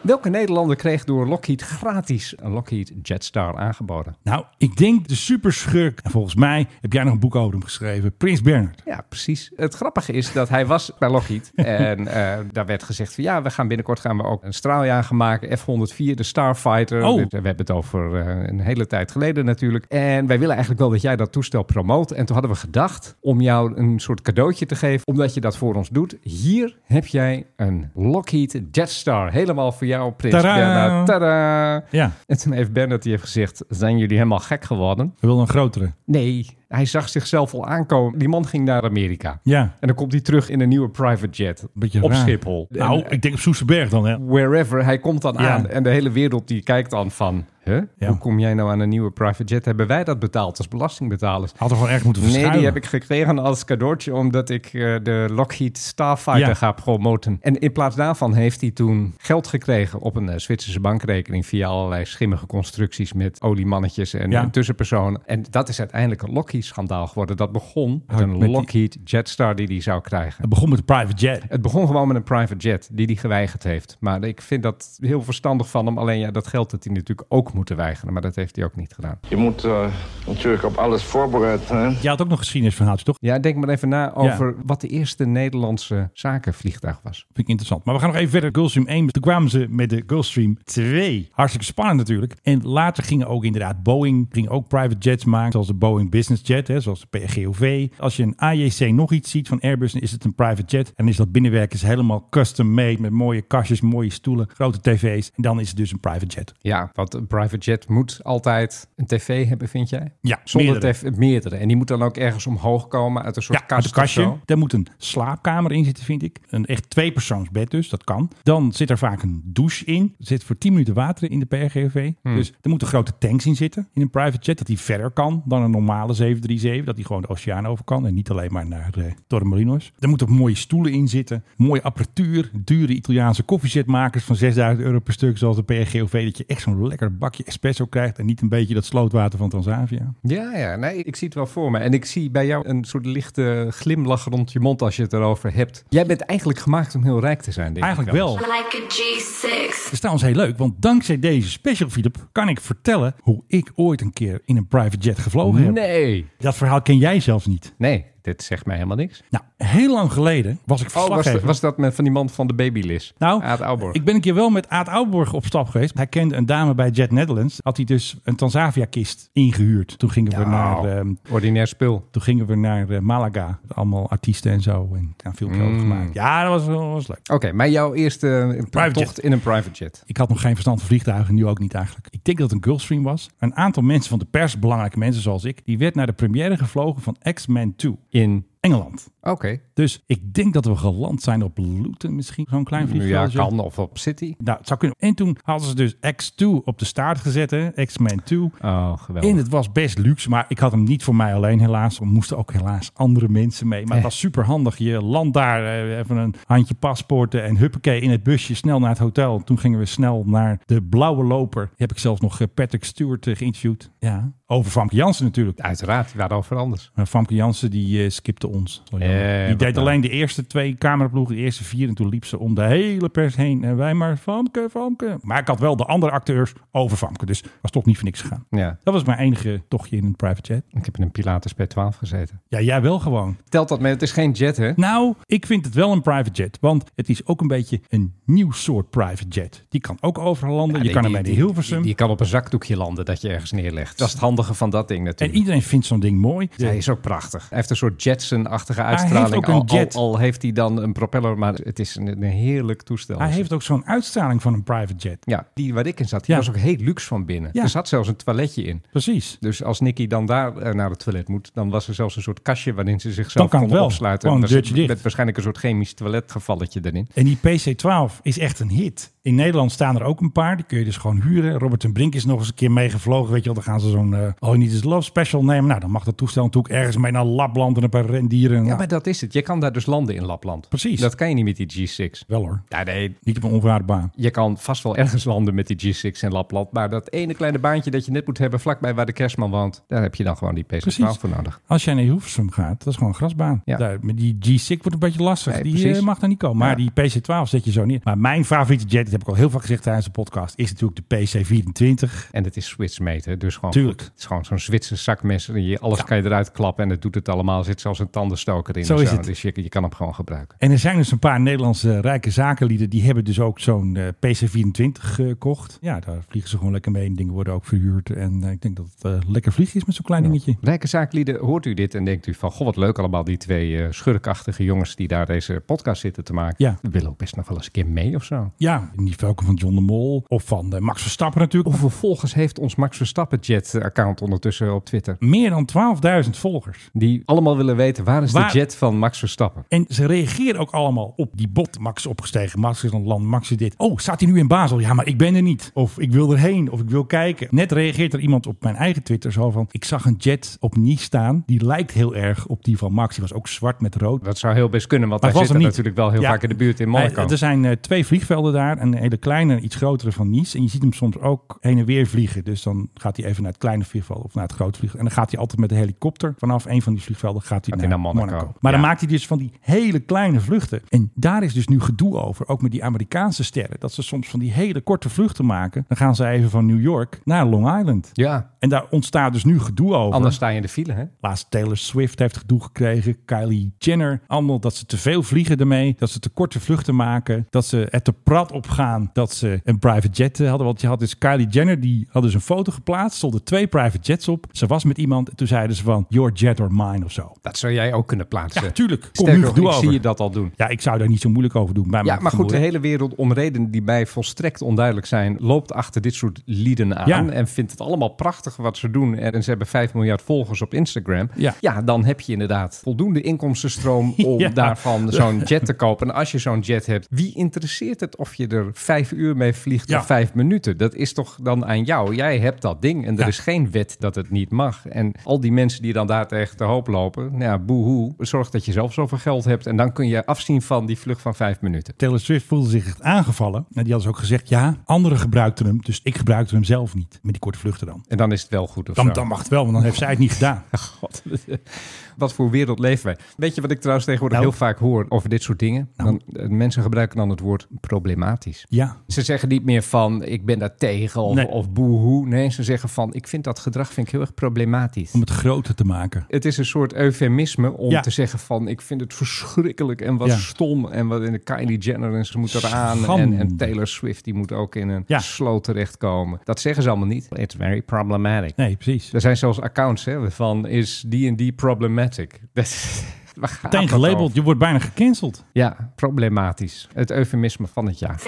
[SPEAKER 3] Welke Nederlander kreeg door Lockheed gratis een Lockheed Jetstar aangeboden?
[SPEAKER 2] Nou, ik denk de superschurk. En volgens mij heb jij nog een boek over hem geschreven. Prins Bernard.
[SPEAKER 3] Ja, precies. Het grappige is dat hij was bij Lockheed. En eh, daar werd gezegd van ja, we gaan binnenkort gaan we ook een straaljager maken. F-104, de Starfighter.
[SPEAKER 2] Oh.
[SPEAKER 3] Dus, eh, we hebben het over eh, een hele tijd geleden natuurlijk. En wij willen eigenlijk wel dat jij dat toestel promoot. En toen hadden we gedacht om jou een soort cadeautje te geven. Omdat je dat voor ons doet. Hier heb jij een Lockheed Jetstar. Helemaal voor jou, Prins
[SPEAKER 2] Tadaa.
[SPEAKER 3] Bernard. Tadaa.
[SPEAKER 2] Ja.
[SPEAKER 3] En toen heeft Bernard die heeft gezegd, zijn jullie helemaal gek geworden?
[SPEAKER 2] We willen een grotere.
[SPEAKER 3] Nee, hij zag zichzelf al aankomen. Die man ging naar Amerika.
[SPEAKER 2] Ja.
[SPEAKER 3] En dan komt hij terug in een nieuwe private jet.
[SPEAKER 2] Beetje
[SPEAKER 3] op
[SPEAKER 2] raar.
[SPEAKER 3] Schiphol.
[SPEAKER 2] Nou,
[SPEAKER 3] En,
[SPEAKER 2] ik denk op Soesterberg dan, hè.
[SPEAKER 3] wherever. Hij komt dan
[SPEAKER 2] Ja.
[SPEAKER 3] aan. En de hele wereld die kijkt dan van... Huh?
[SPEAKER 2] Ja.
[SPEAKER 3] Hoe kom jij nou aan een nieuwe private jet? Hebben wij dat betaald als belastingbetalers?
[SPEAKER 2] Had er gewoon erg moeten
[SPEAKER 3] Nee,
[SPEAKER 2] verschuilen.
[SPEAKER 3] die heb ik gekregen als cadeautje omdat ik eh, de Lockheed Starfighter
[SPEAKER 2] Ja.
[SPEAKER 3] ga promoten. En in plaats daarvan heeft hij toen geld gekregen op een eh, Zwitserse bankrekening via allerlei schimmige constructies met oliemannetjes en,
[SPEAKER 2] Ja.
[SPEAKER 3] en tussenpersonen. En dat is uiteindelijk een Lockheed-schandaal geworden. Dat begon met
[SPEAKER 2] Oh,
[SPEAKER 3] een
[SPEAKER 2] met die-
[SPEAKER 3] Lockheed Jetstar die hij zou krijgen.
[SPEAKER 2] Het begon met de private jet.
[SPEAKER 3] Het begon gewoon met een private jet die hij geweigerd heeft. Maar ik vind dat heel verstandig van hem. Alleen ja, dat geld had hij natuurlijk ook moeten weigeren. Maar dat heeft hij ook niet gedaan.
[SPEAKER 13] Je moet eh, natuurlijk op alles voorbereid zijn.
[SPEAKER 2] Jij had ook nog geschiedenisverhaaltje, toch?
[SPEAKER 3] Ja, denk maar even na over wat de eerste Nederlandse zakenvliegtuig was.
[SPEAKER 2] Vind ik interessant. Maar we gaan nog even verder. Gulfstream 1. Toen kwamen ze met de Gulfstream 2. Hartstikke spannend natuurlijk. En later gingen ook inderdaad Boeing ging ook private jets maken. Zoals de Boeing Business Jet. Hè, zoals de PRGOV. Als je een AJC nog iets ziet van Airbus. Dan is het een private jet. En dan is dat binnenwerk is helemaal custom made. Met mooie kastjes, mooie stoelen. Grote tv's. En dan is het dus een private jet.
[SPEAKER 3] Ja, want een private jet moet altijd een tv hebben, vind jij?
[SPEAKER 2] Ja,
[SPEAKER 3] Zonder
[SPEAKER 2] meerdere.
[SPEAKER 3] tv, meerdere. En die moet dan ook ergens omhoog komen uit een soort
[SPEAKER 2] Ja,
[SPEAKER 3] kast
[SPEAKER 2] uit een
[SPEAKER 3] of
[SPEAKER 2] kastje.
[SPEAKER 3] zo.
[SPEAKER 2] Daar moet een slaapkamer in zitten, vind ik. Een echt tweepersoonsbed dus, dat kan. Dan zit er vaak een douche in. Er zit voor 10 minuten water in de PRGV. Dus er moeten grote tanks in zitten in een private jet. Dat die verder kan dan een normale 737. Dat die gewoon de oceaan over kan. En niet alleen maar naar eh, Torremolinos. Er moeten ook mooie stoelen in zitten. Mooie apparatuur. Dure Italiaanse koffiezetmakers van 6000 euro per stuk. Zoals de PRGOV. Dat je echt zo'n lekker bakje espresso krijgt. En niet een beetje dat slootwater van Transavia.
[SPEAKER 3] Ja, ja. Nee, ik zie het wel voor me. En ik zie bij jou een soort lichte glimlach rond je mond als je het erover hebt. Jij bent eigenlijk gemaakt om heel rijk te zijn, denk
[SPEAKER 2] Eigenlijk
[SPEAKER 3] ik. wel.
[SPEAKER 2] wel.
[SPEAKER 7] Like a G6.
[SPEAKER 2] Dat is trouwens heel leuk, want dankzij deze special, Philip, kan ik vertellen hoe ik ooit een keer in een private jet gevlogen heb.
[SPEAKER 3] Nee.
[SPEAKER 2] Dat verhaal ken jij zelfs niet.
[SPEAKER 3] Nee, dit zegt mij helemaal niks.
[SPEAKER 2] Nou, heel lang geleden was ik
[SPEAKER 3] Oh, was,
[SPEAKER 2] verslaggever.
[SPEAKER 3] was dat met van die man van de babylis?
[SPEAKER 2] Nou,
[SPEAKER 3] Aad Ouborg.
[SPEAKER 2] ik ben een keer wel met Aad Ouborg op stap geweest. Hij kende een dame bij Jet Netherlands. Had hij dus een Tanzavia-kist ingehuurd. Toen gingen we naar,
[SPEAKER 3] Nou,
[SPEAKER 2] ehm,
[SPEAKER 3] ordinair spul.
[SPEAKER 2] toen gingen we naar eh, Malaga. Allemaal artiesten en zo. En daar een filmpje
[SPEAKER 3] Mm.
[SPEAKER 2] over gemaakt. Ja, dat was, dat was leuk.
[SPEAKER 3] Oké, maar jouw eerste eh,
[SPEAKER 2] Private
[SPEAKER 3] tocht
[SPEAKER 2] jet.
[SPEAKER 3] in een private jet.
[SPEAKER 2] Ik had nog geen verstand van vliegtuigen, nu ook niet eigenlijk. Ik denk dat het een Gulfstream was. Een aantal mensen van de pers, belangrijke mensen zoals ik, die werd naar de première gevlogen van X-Men 2 in
[SPEAKER 3] In?
[SPEAKER 2] Engeland.
[SPEAKER 3] Oké.
[SPEAKER 2] Dus ik denk dat we geland zijn op Luton misschien, zo'n klein
[SPEAKER 3] Ja,
[SPEAKER 2] vliegtuigje.
[SPEAKER 3] kan. Of op City.
[SPEAKER 2] Nou, het zou kunnen. En toen hadden ze dus X2 op de staart gezet, hè? X-Men 2.
[SPEAKER 3] Oh, geweldig.
[SPEAKER 2] En het was best luxe, maar ik had hem niet voor mij alleen helaas. Er moesten ook helaas andere mensen mee. Maar het
[SPEAKER 3] Eh.
[SPEAKER 2] was super handig. Je landt daar, eh, even een handje paspoorten en huppakee in het busje snel naar het hotel. Toen gingen we snel naar de Blauwe Loper. Die heb ik zelfs nog eh, Patrick Stewart eh, geïnterviewd. Ja, over Famke Jansen natuurlijk.
[SPEAKER 3] Uiteraard, die waren over anders.
[SPEAKER 2] Maar Famke Jansen die eh, skipte ons. Zo jammer.
[SPEAKER 3] Eh,
[SPEAKER 2] die
[SPEAKER 3] wat
[SPEAKER 2] deed
[SPEAKER 3] nou?
[SPEAKER 2] alleen de eerste twee cameraploegen, de eerste vier. En toen liep ze om de hele pers heen. En wij maar Famke, Famke. Maar ik had wel de andere acteurs over Famke. Dus was toch niet voor niks gegaan.
[SPEAKER 3] Ja.
[SPEAKER 2] Dat was mijn enige tochtje in een private jet.
[SPEAKER 3] Ik heb in een Pilatus P12 gezeten.
[SPEAKER 2] Ja, jij wel gewoon.
[SPEAKER 3] Telt dat mee? Het is geen jet, hè?
[SPEAKER 2] Nou, ik vind het wel een private jet. Want het is ook een beetje een nieuw soort private jet. Die kan ook overal landen.
[SPEAKER 3] Ah,
[SPEAKER 2] je kan ermee naar Hilversum.
[SPEAKER 3] Je kan op een zakdoekje landen dat je ergens neerlegt. Dat is het handige van dat ding
[SPEAKER 2] en
[SPEAKER 3] natuurlijk.
[SPEAKER 2] iedereen vindt zo'n ding mooi.
[SPEAKER 3] hij is ook prachtig. Hij heeft een soort Jetson-achtige
[SPEAKER 2] heeft
[SPEAKER 3] uitstraling.
[SPEAKER 2] ook een
[SPEAKER 3] Al- al-
[SPEAKER 2] jet.
[SPEAKER 3] Al, heeft hij dan een propeller, maar het is een, een heerlijk toestel.
[SPEAKER 2] Hij heeft ook zo'n uitstraling van een private jet.
[SPEAKER 3] Ja, die waar ik in zat, die
[SPEAKER 2] Ja.
[SPEAKER 3] was ook heel luxe van binnen.
[SPEAKER 2] Ja.
[SPEAKER 3] Er zat zelfs een toiletje in.
[SPEAKER 2] Precies.
[SPEAKER 3] Dus als Nicky dan daar eh, naar het toilet moet, dan was er zelfs een soort kastje waarin ze zichzelf
[SPEAKER 2] Dan kan
[SPEAKER 3] kon
[SPEAKER 2] het wel.
[SPEAKER 3] opsluiten.
[SPEAKER 2] Gewoon
[SPEAKER 3] En was-
[SPEAKER 2] deurtje dicht.
[SPEAKER 3] Met waarschijnlijk een soort chemisch toiletgevalletje erin.
[SPEAKER 2] En die PC-12 is echt een hit. In Nederland staan er ook een paar. Die kun je dus gewoon huren. Robert en Brink is nog eens een keer meegevlogen. Weet je wel, dan gaan ze zo'n eh All You Need Is Love special nemen. Nou, dan mag dat toestel natuurlijk ergens mee naar Lapland en een paar dieren.
[SPEAKER 3] Ja, maar dat is het. Je kan daar dus landen in Lapland.
[SPEAKER 2] Precies.
[SPEAKER 3] Dat kan je niet met die G6.
[SPEAKER 2] Wel hoor.
[SPEAKER 3] Ja, nee.
[SPEAKER 2] Niet op een onverharde baan.
[SPEAKER 3] Je kan vast wel ergens landen met die G6 in Lapland. Maar dat ene kleine baantje dat je net moet hebben vlakbij waar de kerstman woont. Daar heb je dan gewoon die PS12 voor nodig.
[SPEAKER 2] Als jij naar Hilversum gaat, dat is gewoon een grasbaan.
[SPEAKER 3] Ja.
[SPEAKER 2] Daar, maar die G6 wordt een beetje lastig.
[SPEAKER 3] Nee,
[SPEAKER 2] die
[SPEAKER 3] precies.
[SPEAKER 2] eh, mag daar niet komen. Maar die PC12 zet je zo neer. Maar mijn favoriete jet, dat heb ik al heel vaak gezegd tijdens de podcast, is natuurlijk de PC24.
[SPEAKER 3] En het is Swiss made, hè? dus gewoon
[SPEAKER 2] Tuurlijk.
[SPEAKER 3] goed. Het is gewoon zo'n Zwitser zakmes. En je, alles kan je eruit klappen en het doet het allemaal. Er zit zelfs een tandenstoker in.
[SPEAKER 2] Zo
[SPEAKER 3] of
[SPEAKER 2] is het.
[SPEAKER 3] Dus je, je kan hem gewoon gebruiken.
[SPEAKER 2] En er zijn dus een paar Nederlandse rijke zakenlieden. Die hebben dus ook zo'n eh, PC24 gekocht. eh, Ja, daar vliegen ze gewoon lekker mee. En dingen worden ook verhuurd. En eh, ik denk dat het eh, lekker vliegen is met zo'n klein dingetje.
[SPEAKER 3] Rijke zaaklieden, hoort u dit en denkt u van... Goh, wat leuk allemaal die twee eh, schurkachtige jongens die daar deze podcast zitten te maken.
[SPEAKER 2] Ja.
[SPEAKER 3] We willen ook best nog wel eens een keer mee of zo.
[SPEAKER 2] Ja, in die velken van John de Mol. Of van eh, Max Verstappen natuurlijk.
[SPEAKER 3] Hoeveel volgers heeft ons Max Verstappen Jet account ondertussen op Twitter?
[SPEAKER 2] Meer dan 12.000 volgers.
[SPEAKER 3] Die allemaal willen weten, waar is
[SPEAKER 2] Waar-
[SPEAKER 3] de jet van Max Verstappen?
[SPEAKER 2] En ze reageren ook allemaal op die bot. Max is opgestegen, Max is aan het land, Max is dit. Oh, staat hij nu in Basel? Ja, maar ik ben er niet. Of ik wil erheen, of ik wil kijken. Net reageert er iemand op mijn eigen Twitter zo van... Ik zag een jet op Nice staan. Die lijkt heel erg op die van Max. Die was ook zwart met rood.
[SPEAKER 3] Dat zou heel best kunnen, want
[SPEAKER 2] Maar
[SPEAKER 3] hij
[SPEAKER 2] het
[SPEAKER 3] zit
[SPEAKER 2] was hem
[SPEAKER 3] er
[SPEAKER 2] niet.
[SPEAKER 3] natuurlijk wel heel
[SPEAKER 2] Ja.
[SPEAKER 3] vaak in de buurt in Monaco.
[SPEAKER 2] Hij- er zijn eh, twee vliegvelden daar. Een hele kleine en iets grotere van Nice. En je ziet hem soms ook heen en weer vliegen. Dus dan gaat hij even naar het kleine vliegveld of naar het grote vliegveld. En dan gaat hij altijd met de helikopter vanaf een van die vliegvelden gaat hij,
[SPEAKER 3] Gaat
[SPEAKER 2] naar,
[SPEAKER 3] hij naar
[SPEAKER 2] Monaco.
[SPEAKER 3] Monaco.
[SPEAKER 2] Maar dan
[SPEAKER 3] Ja.
[SPEAKER 2] maakt hij dus van die hele kleine vluchten. En daar is dus nu gedoe over. Ook met die Amerikaanse sterren. Dat ze soms van die hele korte vluchten maken. Dan gaan ze even van New York naar Long Island.
[SPEAKER 3] Ja,
[SPEAKER 2] En daar ontstaat dus nu gedoe over.
[SPEAKER 3] anders sta je in de file, hè?
[SPEAKER 2] Laatst Taylor Swift heeft gedoe gekregen. Kylie Jenner. Allemaal dat ze te veel vliegen ermee. Dat ze te korte vluchten maken. Dat ze er te prat op gaan dat ze een private jet eh, hadden. Want je had dus Kylie Jenner, die had dus een foto geplaatst. Stonden twee private jets op. Ze was met iemand en toen zeiden ze van, your jet or mine of zo.
[SPEAKER 3] Dat zou jij ook kunnen plaatsen.
[SPEAKER 2] Ja, tuurlijk. Kom nu
[SPEAKER 3] Sterker nog,
[SPEAKER 2] gedoe
[SPEAKER 3] ik
[SPEAKER 2] over.
[SPEAKER 3] zie je dat al doen.
[SPEAKER 2] Ja, ik zou daar niet zo moeilijk over doen. Mij
[SPEAKER 3] Ja,
[SPEAKER 2] maakt
[SPEAKER 3] maar
[SPEAKER 2] het
[SPEAKER 3] goed, de
[SPEAKER 2] moeilijk.
[SPEAKER 3] hele wereld, om redenen die mij volstrekt onduidelijk zijn, loopt achter dit soort lieden aan.
[SPEAKER 2] Ja.
[SPEAKER 3] En vindt het allemaal prachtig wat ze doen. En, en ze hebben 5 miljard volgers op Instagram.
[SPEAKER 2] Ja.
[SPEAKER 3] dan heb je inderdaad voldoende inkomstenstroom om
[SPEAKER 2] Ja.
[SPEAKER 3] daarvan zo'n jet te kopen. En als je zo'n jet hebt, wie interesseert het of je er vijf uur mee vliegt
[SPEAKER 2] Ja.
[SPEAKER 3] of vijf minuten? Dat is toch dan aan jou. Jij hebt dat ding en er
[SPEAKER 2] Ja.
[SPEAKER 3] is geen wet dat het niet mag. En al die mensen die dan daar tegen te hoop lopen, nou ja, boehoe, zorg dat je zelf zoveel geld hebt. En dan kun je afzien van die vlucht van vijf minuten.
[SPEAKER 2] Taylor Swift voelde zich echt aangevallen. En die had dus ook gezegd, ja, anderen gebruikten hem. Dus ik gebruikte hem zelf niet. Met die korte vluchten dan.
[SPEAKER 3] En dan is het wel goed of
[SPEAKER 2] Dan,
[SPEAKER 3] zo.
[SPEAKER 2] dan mag het wel, want dan heeft zij het niet gedaan.
[SPEAKER 3] God, wat voor wereld leven wij. Weet je wat ik trouwens tegenwoordig
[SPEAKER 2] Nou.
[SPEAKER 3] heel vaak hoor over dit soort dingen? Dan, eh, mensen gebruiken dan het woord problematisch.
[SPEAKER 2] Ja,
[SPEAKER 3] Ze zeggen niet meer van ik ben daar tegen of,
[SPEAKER 2] Nee.
[SPEAKER 3] of boehoe. Nee, ze zeggen van ik vind dat gedrag vind ik heel erg problematisch.
[SPEAKER 2] om het groter te maken.
[SPEAKER 3] Het is een soort eufemisme om
[SPEAKER 2] Ja.
[SPEAKER 3] te zeggen van ik vind het verschrikkelijk en wat
[SPEAKER 2] Ja.
[SPEAKER 3] stom. En wat in de Kylie Jenner en ze moet eraan. En,
[SPEAKER 2] Schande.
[SPEAKER 3] en Taylor Swift die moet ook in een
[SPEAKER 2] Ja.
[SPEAKER 3] sloot terechtkomen. Dat zeggen ze allemaal niet. It's very problematic.
[SPEAKER 2] Nee, precies.
[SPEAKER 3] Er zijn zelfs accounts hè, van is die en die problematic. Dat is- waar gaat
[SPEAKER 2] Meteen
[SPEAKER 3] dat
[SPEAKER 2] gelabeld,
[SPEAKER 3] over?
[SPEAKER 2] je wordt bijna gecanceld.
[SPEAKER 3] Ja, problematisch. Het eufemisme van het jaar.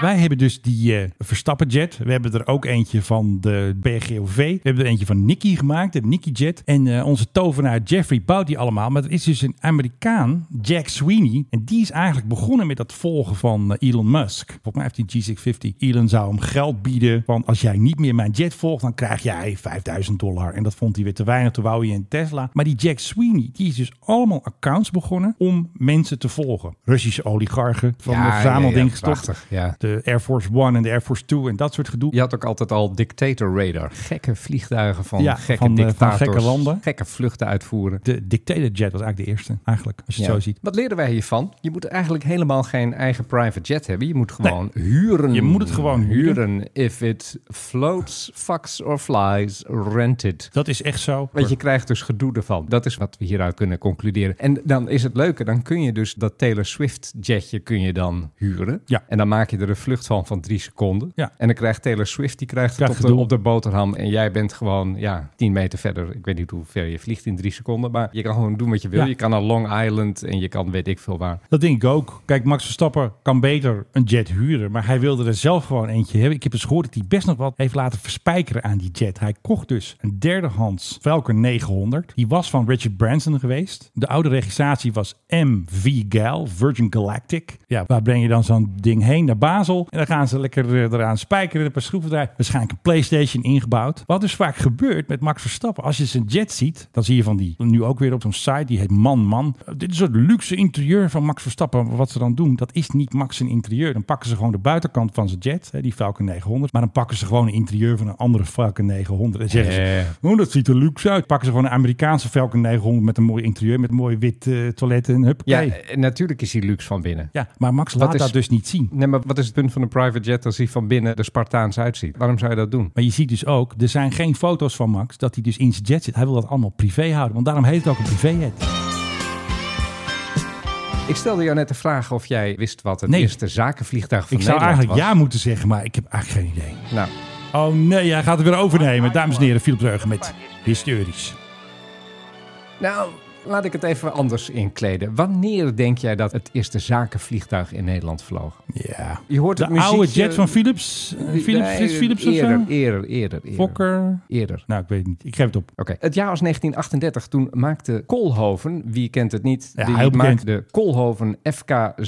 [SPEAKER 2] Wij hebben dus die eh Verstappen Jet. We hebben er ook eentje van de BGOV. We hebben er eentje van Nicky gemaakt, de Nicky Jet. En eh, onze tovenaar Jeffrey bouwt die allemaal. Maar er is dus een Amerikaan, Jack Sweeney. En die is eigenlijk begonnen met dat volgen van eh, Elon Musk. Volgens mij heeft hij G650. Elon zou hem geld bieden van als jij niet meer mijn jet volgt, dan krijg jij 5000 dollar. En dat vond hij weer te weinig. Toen wou hij een Tesla. Maar die Jack Sweeney, die is dus allemaal accounts begonnen om mensen te volgen. Russische oligarchen van
[SPEAKER 3] Ja,
[SPEAKER 2] een
[SPEAKER 3] ja, ja,
[SPEAKER 2] verzamelding gestopt.
[SPEAKER 3] prachtig, ja.
[SPEAKER 2] De Air Force One en de Air Force Two en dat soort gedoe.
[SPEAKER 3] Je had ook altijd al dictator radar. Gekke vliegtuigen van
[SPEAKER 2] Ja,
[SPEAKER 3] gekke
[SPEAKER 2] van, eh, van
[SPEAKER 3] dictators.
[SPEAKER 2] gekke landen.
[SPEAKER 3] Gekke vluchten uitvoeren.
[SPEAKER 2] De Dictator Jet was eigenlijk de eerste, eigenlijk, als je
[SPEAKER 3] Ja.
[SPEAKER 2] het zo ziet.
[SPEAKER 3] Wat leren wij hiervan? Je moet eigenlijk helemaal geen eigen private jet hebben. Je moet gewoon huren.
[SPEAKER 2] Je moet het gewoon huren.
[SPEAKER 3] If it floats, fucks or flies, rent it.
[SPEAKER 2] Dat is echt zo.
[SPEAKER 3] Want je krijgt dus gedoe ervan. Dat is wat we hieruit kunnen concluderen. En dan is het leuke, dan kun je dus dat Taylor Swift jetje kun je dan huren.
[SPEAKER 2] Ja.
[SPEAKER 3] En dan maak je er een vlucht van van drie seconden.
[SPEAKER 2] Ja.
[SPEAKER 3] En dan krijgt Taylor Swift, die krijgt,
[SPEAKER 2] Krijgt
[SPEAKER 3] het op de,
[SPEAKER 2] gedoe.
[SPEAKER 3] op de boterham. En jij bent gewoon, ja, tien meter verder. Ik weet niet hoe ver je vliegt in drie seconden. Maar je kan gewoon doen wat je wil.
[SPEAKER 2] Ja.
[SPEAKER 3] Je kan naar Long Island en je kan weet ik veel waar.
[SPEAKER 2] Dat denk ik ook. Kijk, Max Verstappen kan beter een jet huren. Maar hij wilde er zelf gewoon eentje hebben. Ik heb eens gehoord dat hij best nog wat heeft laten verspijkeren aan die jet. Hij kocht dus een derdehands Falcon 900. Die was van Richard Branson geweest. De oude registratie was MV Gal, Virgin Galactic. Ja, waar breng je dan zo'n ding heen? Naar mazzel. En dan gaan ze lekker eh, eraan spijkeren, een paar schroeven draaien. Waarschijnlijk een PlayStation ingebouwd. Wat dus vaak gebeurt met Max Verstappen. Als je zijn jet ziet, dan zie je van die nu ook weer op zo'n site. Die heet Man Man. Eh, Dit is een soort luxe interieur van Max Verstappen. Wat ze dan doen, dat is niet Max zijn interieur. Dan pakken ze gewoon de buitenkant van zijn jet, hè, die Falcon 900. Maar dan pakken ze gewoon een interieur van een andere Falcon 900. En zeggen ze, oh, dat ziet er luxe uit. Pakken ze gewoon een Amerikaanse Falcon 900 met een mooi interieur. Met een mooi wit eh, toilet en
[SPEAKER 3] Ja,
[SPEAKER 2] huppakee.
[SPEAKER 3] eh, natuurlijk is hij luxe van binnen.
[SPEAKER 2] Ja, maar Max laat dat dus niet zien.
[SPEAKER 3] Nee, maar wat is het punt van een private jet als hij van binnen er Spartaans uitziet? Waarom zou je dat doen?
[SPEAKER 2] Maar je ziet dus ook, er zijn geen foto's van Max dat hij dus in zijn jet zit. Hij wil dat allemaal privé houden, want daarom heet het ook een privéjet.
[SPEAKER 3] Ik stelde jou net de vraag of jij wist wat het
[SPEAKER 2] Nee.
[SPEAKER 3] eerste zakenvliegtuig van
[SPEAKER 2] Ik zou
[SPEAKER 3] Nederland
[SPEAKER 2] eigenlijk
[SPEAKER 3] was.
[SPEAKER 2] ja moeten zeggen, maar ik heb eigenlijk geen idee.
[SPEAKER 3] Nou,
[SPEAKER 2] Oh nee, hij gaat het weer overnemen. Dames en heren, Philip Dreugen met Historisch.
[SPEAKER 3] nou, laat ik het even anders inkleden. Wanneer denk jij dat het eerste zakenvliegtuig in Nederland vloog?
[SPEAKER 2] Ja.
[SPEAKER 3] Je hoort
[SPEAKER 2] De
[SPEAKER 3] het muziekje-
[SPEAKER 2] oude jet van Philips. Eh, Philips,
[SPEAKER 3] Nee,
[SPEAKER 2] is Philips of
[SPEAKER 3] eerder,
[SPEAKER 2] zo?
[SPEAKER 3] eerder, eerder, eerder.
[SPEAKER 2] Fokker.
[SPEAKER 3] Eerder.
[SPEAKER 2] Nou, ik weet het niet. Ik geef het op.
[SPEAKER 3] Oké, het jaar was 1938. Toen maakte Kolhoven, wie kent het niet,
[SPEAKER 2] Ja, heel bekend.
[SPEAKER 3] die maakte Kolhoven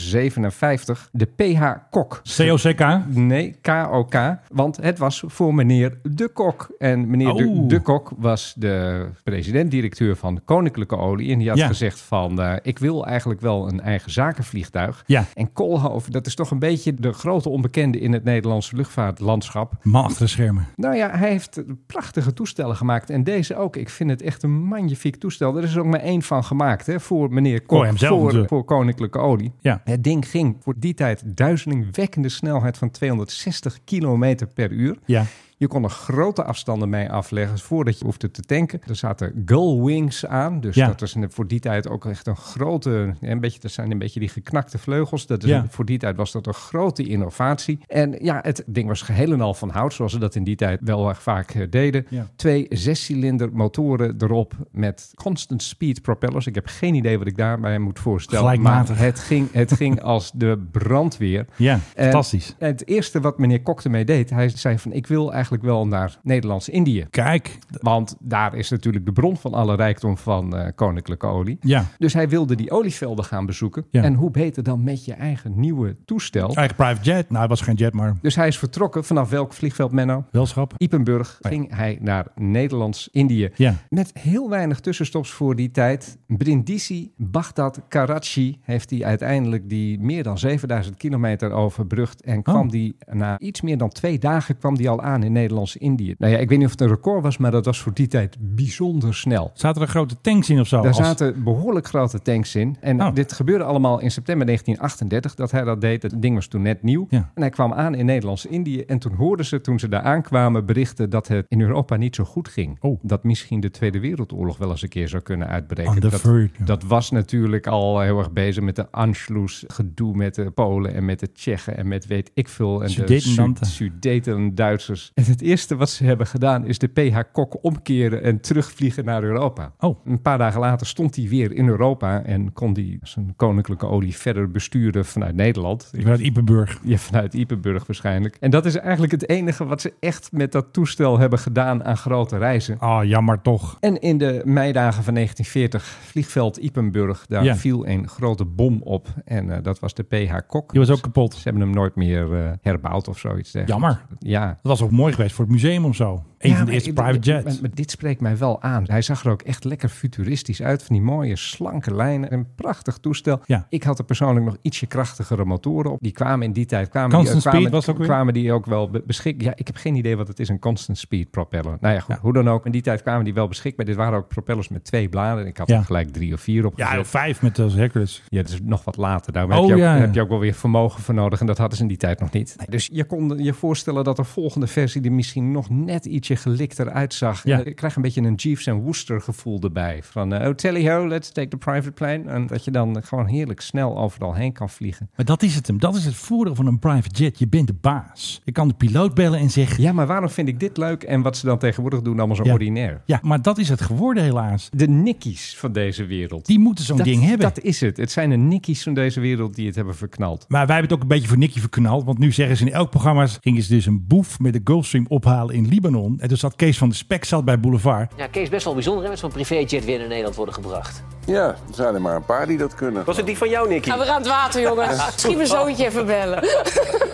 [SPEAKER 3] FK57 de PH Kok.
[SPEAKER 2] COCK.
[SPEAKER 3] Nee, KOK. Want het was voor meneer De Kok. En meneer de,
[SPEAKER 2] Oh.
[SPEAKER 3] de Kok was de president-directeur van Koninklijke Olie. En die had
[SPEAKER 2] Ja.
[SPEAKER 3] gezegd van, eh, ik wil eigenlijk wel een eigen zakenvliegtuig.
[SPEAKER 2] Ja.
[SPEAKER 3] En Koolhoven, dat is toch een beetje de grote onbekende in het Nederlandse luchtvaartlandschap.
[SPEAKER 2] Man achter de schermen.
[SPEAKER 3] Nou ja, hij heeft prachtige toestellen gemaakt. En deze ook. Ik vind het echt een magnifiek toestel. Er is er ook maar één van gemaakt hè, voor meneer Kok.
[SPEAKER 2] Voor hemzelf
[SPEAKER 3] voor,
[SPEAKER 2] natuurlijk.
[SPEAKER 3] voor Koninklijke Olie.
[SPEAKER 2] Ja.
[SPEAKER 3] Het ding ging voor die tijd duizelingwekkende snelheid van 260 kilometer per uur.
[SPEAKER 2] Ja.
[SPEAKER 3] Je kon er grote afstanden mee afleggen voordat je hoefde te tanken. Er zaten gull wings aan. Dus
[SPEAKER 2] Ja.
[SPEAKER 3] dat is een- voor die tijd ook echt een grote... Een beetje, dat zijn een beetje die geknakte vleugels. Dat is
[SPEAKER 2] Ja.
[SPEAKER 3] een- voor die tijd was dat een grote innovatie. En ja, het ding was geheel en al van hout, zoals ze dat in die tijd wel erg vaak eh, deden.
[SPEAKER 2] Ja.
[SPEAKER 3] Twee zescilinder motoren erop met constant speed propellers. Ik heb geen idee wat ik daarbij moet voorstellen.
[SPEAKER 2] Gelijkmatig.
[SPEAKER 3] Maar het ging, het ging als de brandweer.
[SPEAKER 2] Ja,
[SPEAKER 3] En
[SPEAKER 2] fantastisch.
[SPEAKER 3] het eerste wat meneer Kok ermee deed, hij zei van ik wil eigenlijk wel naar Nederlands-Indië.
[SPEAKER 2] Kijk.
[SPEAKER 3] Want daar is natuurlijk de bron van alle rijkdom van eh, koninklijke olie.
[SPEAKER 2] Ja.
[SPEAKER 3] Dus hij wilde die olievelden gaan bezoeken.
[SPEAKER 2] Ja.
[SPEAKER 3] En hoe beter dan met je eigen nieuwe toestel.
[SPEAKER 2] Eigen private jet. Nou, het was geen jet, maar
[SPEAKER 3] Dus hij is vertrokken vanaf welk vliegveld, Menno?
[SPEAKER 2] welschap.
[SPEAKER 3] Ipenburg ging hij naar Nederlands-Indië.
[SPEAKER 2] Oh Ja.
[SPEAKER 3] Met heel weinig tussenstops voor die tijd. Brindisi, Bagdad, Karachi heeft hij uiteindelijk die meer dan 7000 kilometer overbrugd. En kwam
[SPEAKER 2] Oh.
[SPEAKER 3] die na iets meer dan twee dagen kwam die al aan in Nederlands-Indië. Nou ja, ik weet niet of het een record was, maar dat was voor die tijd bijzonder snel.
[SPEAKER 2] Zaten er grote tanks in of zo?
[SPEAKER 3] Daar
[SPEAKER 2] Als-
[SPEAKER 3] zaten behoorlijk grote tanks in. En
[SPEAKER 2] Oh.
[SPEAKER 3] dit gebeurde allemaal in september 1938 dat hij dat deed. Het ding was toen net nieuw.
[SPEAKER 2] Ja.
[SPEAKER 3] En hij kwam aan in Nederlands-Indië. En toen hoorden ze, toen ze daar aankwamen, berichten dat het in Europa niet zo goed ging.
[SPEAKER 2] Oh.
[SPEAKER 3] Dat misschien de Tweede Wereldoorlog wel eens een keer zou kunnen uitbreken.
[SPEAKER 2] On the
[SPEAKER 3] Dat,
[SPEAKER 2] verge, ja.
[SPEAKER 3] dat was natuurlijk al heel erg bezig met de Anschluss. Gedoe met de Polen en met de Tsjechen en met weet ik veel. En de
[SPEAKER 2] Sudetenland.
[SPEAKER 3] Su- Sudeten Duitsers. En het eerste wat ze hebben gedaan is de PH-kok omkeren en terugvliegen naar Europa.
[SPEAKER 2] Oh.
[SPEAKER 3] Een paar dagen later stond hij weer in Europa en kon hij zijn koninklijke olie verder besturen vanuit Nederland.
[SPEAKER 2] Vanuit Ipenburg.
[SPEAKER 3] Ja, vanuit Iepenburg waarschijnlijk. En dat is eigenlijk het enige wat ze echt met dat toestel hebben gedaan aan grote reizen.
[SPEAKER 2] Ah, jammer toch.
[SPEAKER 3] En in de meidagen van 1940, vliegveld Iepenburg, daar
[SPEAKER 2] Ja.
[SPEAKER 3] viel een grote bom op. En eh, dat was de PH-kok.
[SPEAKER 2] Die was ook kapot.
[SPEAKER 3] Ze hebben hem nooit meer eh, herbouwd of zoiets. dergelijks.
[SPEAKER 2] Jammer.
[SPEAKER 3] Ja,
[SPEAKER 2] Dat was ook mooi geweest voor het museum of zo. Een
[SPEAKER 3] Ja,
[SPEAKER 2] van de
[SPEAKER 3] maar
[SPEAKER 2] eerste
[SPEAKER 3] ik-
[SPEAKER 2] private
[SPEAKER 3] Maar,
[SPEAKER 2] jets.
[SPEAKER 3] maar dit spreekt mij wel aan. Hij zag er ook echt lekker futuristisch uit. Van die mooie, slanke lijnen. Een prachtig toestel.
[SPEAKER 2] Ja.
[SPEAKER 3] Ik had er persoonlijk nog ietsje krachtigere motoren op. Die kwamen in die tijd. Kwamen
[SPEAKER 2] Constant
[SPEAKER 3] die, eh, kwamen,
[SPEAKER 2] speed was ook weer?
[SPEAKER 3] kwamen die ook wel be- beschikbaar. Ja, ik heb geen idee wat het is. Een constant speed propeller. Nou ja, goed,
[SPEAKER 2] Ja.
[SPEAKER 3] hoe dan ook. In die tijd kwamen die wel beschikbaar. Dit waren ook propellers met twee bladen. Ik had
[SPEAKER 2] Ja.
[SPEAKER 3] er gelijk drie of vier op.
[SPEAKER 2] Ja, vijf met als Hercules.
[SPEAKER 3] Ja, dat is nog wat later. Daar heb,
[SPEAKER 2] Oh,
[SPEAKER 3] je ook,
[SPEAKER 2] ja, ja.
[SPEAKER 3] heb je ook wel weer vermogen voor nodig. En dat hadden ze in die tijd nog niet. Dus je kon je voorstellen dat de volgende versie er misschien nog net ietsje gelikter uitzag.
[SPEAKER 2] Ja.
[SPEAKER 3] En Ik krijg een beetje een Jeeves en Wooster gevoel erbij. Van, eh, oh, tally ho, let's take the private plane. En dat je dan gewoon heerlijk snel overal heen kan vliegen.
[SPEAKER 2] Maar dat is het hem. Dat is het voordeel van een private jet. Je bent de baas. Je kan de piloot bellen en zeggen...
[SPEAKER 3] Ja, maar waarom vind ik dit leuk? En wat ze dan tegenwoordig doen, allemaal zo
[SPEAKER 2] Ja.
[SPEAKER 3] ordinair.
[SPEAKER 2] Ja, maar dat is het geworden helaas.
[SPEAKER 3] De nikkies van deze wereld.
[SPEAKER 2] Die moeten zo'n
[SPEAKER 3] dat,
[SPEAKER 2] ding hebben.
[SPEAKER 3] Dat is het. Het zijn de nikkies van deze wereld die het hebben verknald.
[SPEAKER 2] Maar wij hebben het ook een beetje voor Nicky verknald. Want nu zeggen ze in elk programma... gingen ze dus een boef met de Gulfstream ophalen in Libanon. En dus zat Kees van de Spek zat bij Boulevard.
[SPEAKER 14] Ja, Kees, best wel bijzonder hè, met zo'n privéjet weer naar Nederland worden gebracht.
[SPEAKER 13] Ja, er zijn er maar een paar die dat kunnen.
[SPEAKER 14] Was het die van jou, Nicky?
[SPEAKER 15] Gaan we aan het water, jongens. Misschien mijn zoontje even bellen.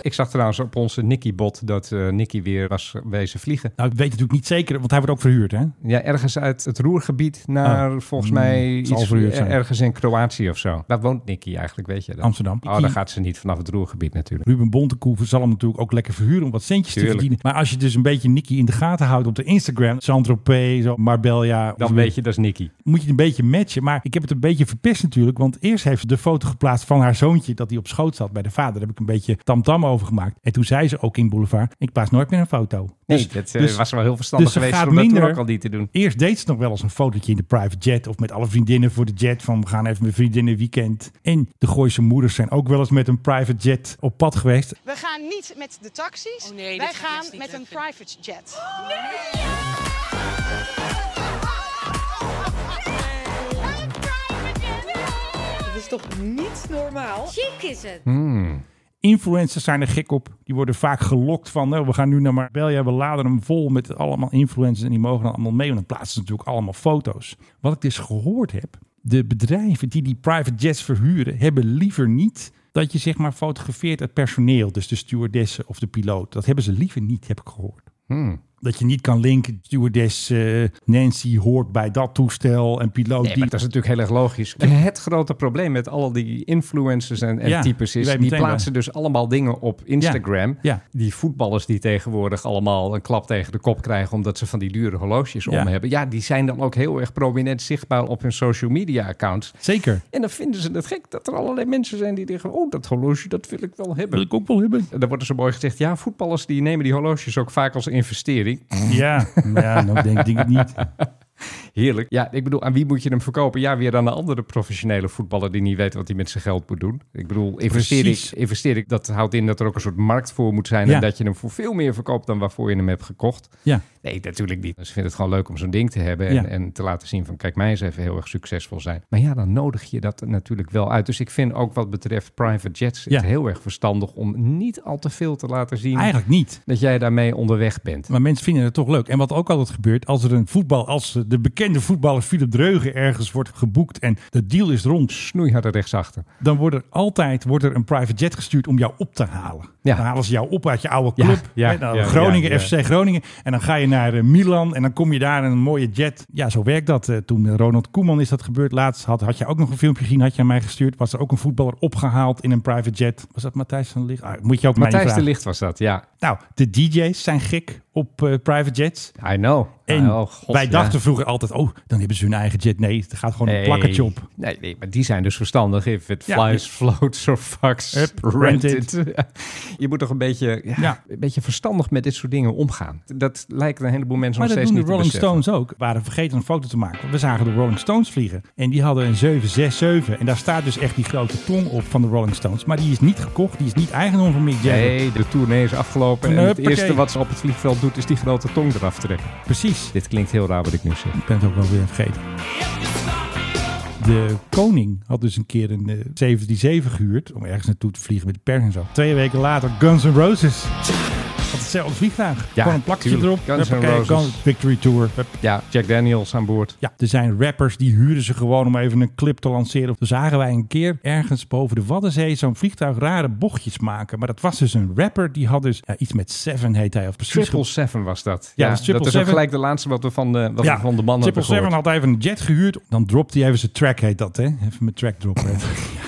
[SPEAKER 3] Ik zag trouwens op onze Nicky-bot dat eh, Nicky weer was wezen vliegen.
[SPEAKER 2] Nou, ik weet natuurlijk niet zeker, want hij wordt ook verhuurd, hè?
[SPEAKER 3] Ja, ergens uit het Roergebied naar
[SPEAKER 2] Ah.
[SPEAKER 3] volgens
[SPEAKER 2] Hmm,
[SPEAKER 3] mij
[SPEAKER 2] het zal
[SPEAKER 3] iets,
[SPEAKER 2] verhuurd zijn.
[SPEAKER 3] ergens in Kroatië of zo. Waar woont Nicky eigenlijk, weet je dat?
[SPEAKER 2] Amsterdam.
[SPEAKER 3] Oh, daar gaat ze niet vanaf het Roergebied natuurlijk.
[SPEAKER 2] Ruben Bontekoeven zal hem natuurlijk ook lekker verhuren om wat centjes te
[SPEAKER 3] Tuurlijk.
[SPEAKER 2] verdienen. Maar als je dus een beetje Nicky in de gaten houdt op de Instagram, Saint-Tropez, zo, Marbella.
[SPEAKER 3] Dan weet je, dat is Nicky.
[SPEAKER 2] Moet je het een beetje matchen. Maar ik heb het een beetje verpest natuurlijk. Want eerst heeft ze de foto geplaatst van haar zoontje. dat hij op schoot zat bij de vader. Daar heb ik een beetje tamtam over gemaakt. En toen zei ze ook in Boulevard: Ik plaats nooit meer een foto.
[SPEAKER 3] Nee, dat, eh, was wel heel verstandig
[SPEAKER 2] Dus- ze
[SPEAKER 3] geweest
[SPEAKER 2] gaat
[SPEAKER 3] om dat toen ook al niet te doen.
[SPEAKER 2] Eerst deed ze nog wel eens een fotootje in de private jet. of met alle vriendinnen voor de jet. van we gaan even met vriendinnen weekend. En de Gooise moeders zijn ook wel eens met een private jet op pad geweest.
[SPEAKER 16] We gaan niet met de taxis.
[SPEAKER 15] Oh,
[SPEAKER 16] Wij gaan met een private jet.
[SPEAKER 15] Dat is toch niet normaal? Chic is het.
[SPEAKER 2] Influencers zijn er gek op. Die worden vaak gelokt van, nou, we gaan nu naar Marbella, we laden hem vol met allemaal influencers en die mogen dan allemaal mee. Want dan plaatsen ze natuurlijk allemaal foto's. Wat ik dus gehoord heb, de bedrijven die die private jets verhuren, hebben liever niet dat je zeg maar fotografeert het personeel. Dus de stewardessen of de piloot. Dat hebben ze liever niet, heb ik gehoord. Dat je niet kan linken, stewardess eh, Nancy hoort bij dat toestel en piloot
[SPEAKER 3] Nee,
[SPEAKER 2] die.
[SPEAKER 3] maar dat is natuurlijk heel erg logisch. Het grote probleem met al die influencers en, en
[SPEAKER 2] Ja,
[SPEAKER 3] types
[SPEAKER 2] je
[SPEAKER 3] is...
[SPEAKER 2] weet
[SPEAKER 3] die
[SPEAKER 2] meteen waar.
[SPEAKER 3] plaatsen dus allemaal dingen op Instagram.
[SPEAKER 2] ja.
[SPEAKER 3] Die voetballers die tegenwoordig allemaal een klap tegen de kop krijgen... omdat ze van die dure horloges
[SPEAKER 2] Ja.
[SPEAKER 3] om hebben. Ja, die zijn dan ook heel erg prominent zichtbaar op hun social media accounts.
[SPEAKER 2] Zeker.
[SPEAKER 3] En dan vinden ze het gek dat er allerlei mensen zijn die denken... oh, dat horloge, dat wil ik wel hebben.
[SPEAKER 2] Wil ik ook wel hebben.
[SPEAKER 3] En dan wordt er zo mooi gezegd... ja, voetballers die nemen die horloges ook vaak als investering.
[SPEAKER 2] Ja, ja nou, ik denk, denk ik niet.
[SPEAKER 3] Heerlijk. Ja, ik bedoel, aan wie moet je hem verkopen? Ja, weer aan een andere professionele voetballer die niet weet wat hij met zijn geld moet doen. Ik bedoel, investeer ik,
[SPEAKER 2] Precies.
[SPEAKER 3] investeer ik, dat houdt in dat er ook een soort markt voor moet zijn.
[SPEAKER 2] Ja.
[SPEAKER 3] En dat je hem voor veel meer verkoopt dan waarvoor je hem hebt gekocht.
[SPEAKER 2] Ja.
[SPEAKER 3] Nee, natuurlijk niet. Ze vinden het gewoon leuk om zo'n ding te hebben en,
[SPEAKER 2] Ja.
[SPEAKER 3] en te laten zien van kijk, mij eens even heel erg succesvol zijn. Maar ja, dan nodig je dat natuurlijk wel uit. Dus ik vind ook wat betreft private jets
[SPEAKER 2] Ja.
[SPEAKER 3] het heel erg verstandig om niet al te veel te laten zien.
[SPEAKER 2] Eigenlijk niet.
[SPEAKER 3] Dat jij daarmee onderweg bent.
[SPEAKER 2] Maar mensen vinden het toch leuk. En wat ook altijd gebeurt, als er een voetbal, als de bekende voetballer Philip Dreugen ergens wordt geboekt en de deal is rond,
[SPEAKER 3] snoeiharde rechtsachter.
[SPEAKER 2] Dan wordt er altijd wordt er een private jet gestuurd om jou op te halen.
[SPEAKER 3] Ja.
[SPEAKER 2] Dan halen ze jou op uit je oude
[SPEAKER 3] Ja,
[SPEAKER 2] club.
[SPEAKER 3] ja,
[SPEAKER 2] hè, nou,
[SPEAKER 3] ja,
[SPEAKER 2] Groningen,
[SPEAKER 3] ja, ja.
[SPEAKER 2] FC Groningen. En dan ga je naar eh, Milan en dan kom je daar in een mooie jet. Ja, zo werkt dat. Eh, toen eh, Ronald Koeman is dat gebeurd. Laatst had, had je ook nog een filmpje gezien, had je aan mij gestuurd. Was er ook een voetballer opgehaald in een private jet. Was dat Matthijs van Licht? Ah, moet je ook mij niet
[SPEAKER 3] Matthijs de
[SPEAKER 2] vragen.
[SPEAKER 3] Licht was dat, ja.
[SPEAKER 2] Nou, de DJ's zijn gek op eh, private jets.
[SPEAKER 3] I know.
[SPEAKER 2] En
[SPEAKER 3] Oh, god,
[SPEAKER 2] wij
[SPEAKER 3] ja.
[SPEAKER 2] dachten vroeger altijd, oh, dan hebben ze hun eigen jet. Nee, er gaat gewoon een plakkertje op.
[SPEAKER 3] Nee, nee, maar die zijn dus verstandig. If it
[SPEAKER 2] Ja.
[SPEAKER 3] flies, floats or fucks,
[SPEAKER 2] Hup,
[SPEAKER 3] rent
[SPEAKER 2] rent
[SPEAKER 3] it. Je moet toch een beetje, ja, een beetje verstandig met dit soort dingen omgaan. Dat lijkt een heleboel mensen
[SPEAKER 2] Maar
[SPEAKER 3] nog
[SPEAKER 2] dat
[SPEAKER 3] steeds
[SPEAKER 2] doen de
[SPEAKER 3] niet te
[SPEAKER 2] Rolling
[SPEAKER 3] beseffen.
[SPEAKER 2] Stones ook. We waren vergeten een foto te maken. We zagen de Rolling Stones vliegen. En die hadden een 767. En daar staat dus echt die grote tong op van de Rolling Stones. Maar die is niet gekocht. Die is niet eigendom van Mick Jagger.
[SPEAKER 3] Nee, de tournee is afgelopen. En het
[SPEAKER 2] Huppakee.
[SPEAKER 3] eerste wat ze op het vliegveld doet, is die grote tong eraf trekken.
[SPEAKER 2] Precies.
[SPEAKER 3] Dit klinkt heel raar wat ik nu zeg.
[SPEAKER 2] Ik ben het ook wel weer vergeten. De koning had dus een keer een eh, 737 gehuurd om ergens naartoe te vliegen met de pers en zo. Twee weken later Guns N' Roses. Had hetzelfde vliegtuig.
[SPEAKER 3] Ja,
[SPEAKER 2] Gewoon een plakje
[SPEAKER 3] tuurlijk.
[SPEAKER 2] erop.
[SPEAKER 3] Guns N'
[SPEAKER 2] Huppakee,
[SPEAKER 3] Roses.
[SPEAKER 2] Victory Tour. Hup.
[SPEAKER 3] Ja, Jack Daniels aan boord.
[SPEAKER 2] Ja, er zijn rappers die huren ze gewoon om even een clip te lanceren. Toen zagen wij een keer ergens boven de Waddenzee zo'n vliegtuig rare bochtjes maken. Maar dat was dus een rapper die had dus ja, iets met Seven heet hij of precies.
[SPEAKER 3] Triple Seven was dat.
[SPEAKER 2] Ja, dus
[SPEAKER 3] Ja,
[SPEAKER 2] dat is
[SPEAKER 3] dat, is ook
[SPEAKER 2] 777.
[SPEAKER 3] gelijk de laatste wat we van de, wat we van de man hebben
[SPEAKER 2] Triple Seven
[SPEAKER 3] gehoord.
[SPEAKER 2] had even een jet gehuurd. Dan dropt hij even zijn track, heet dat hè? Even mijn track droppen.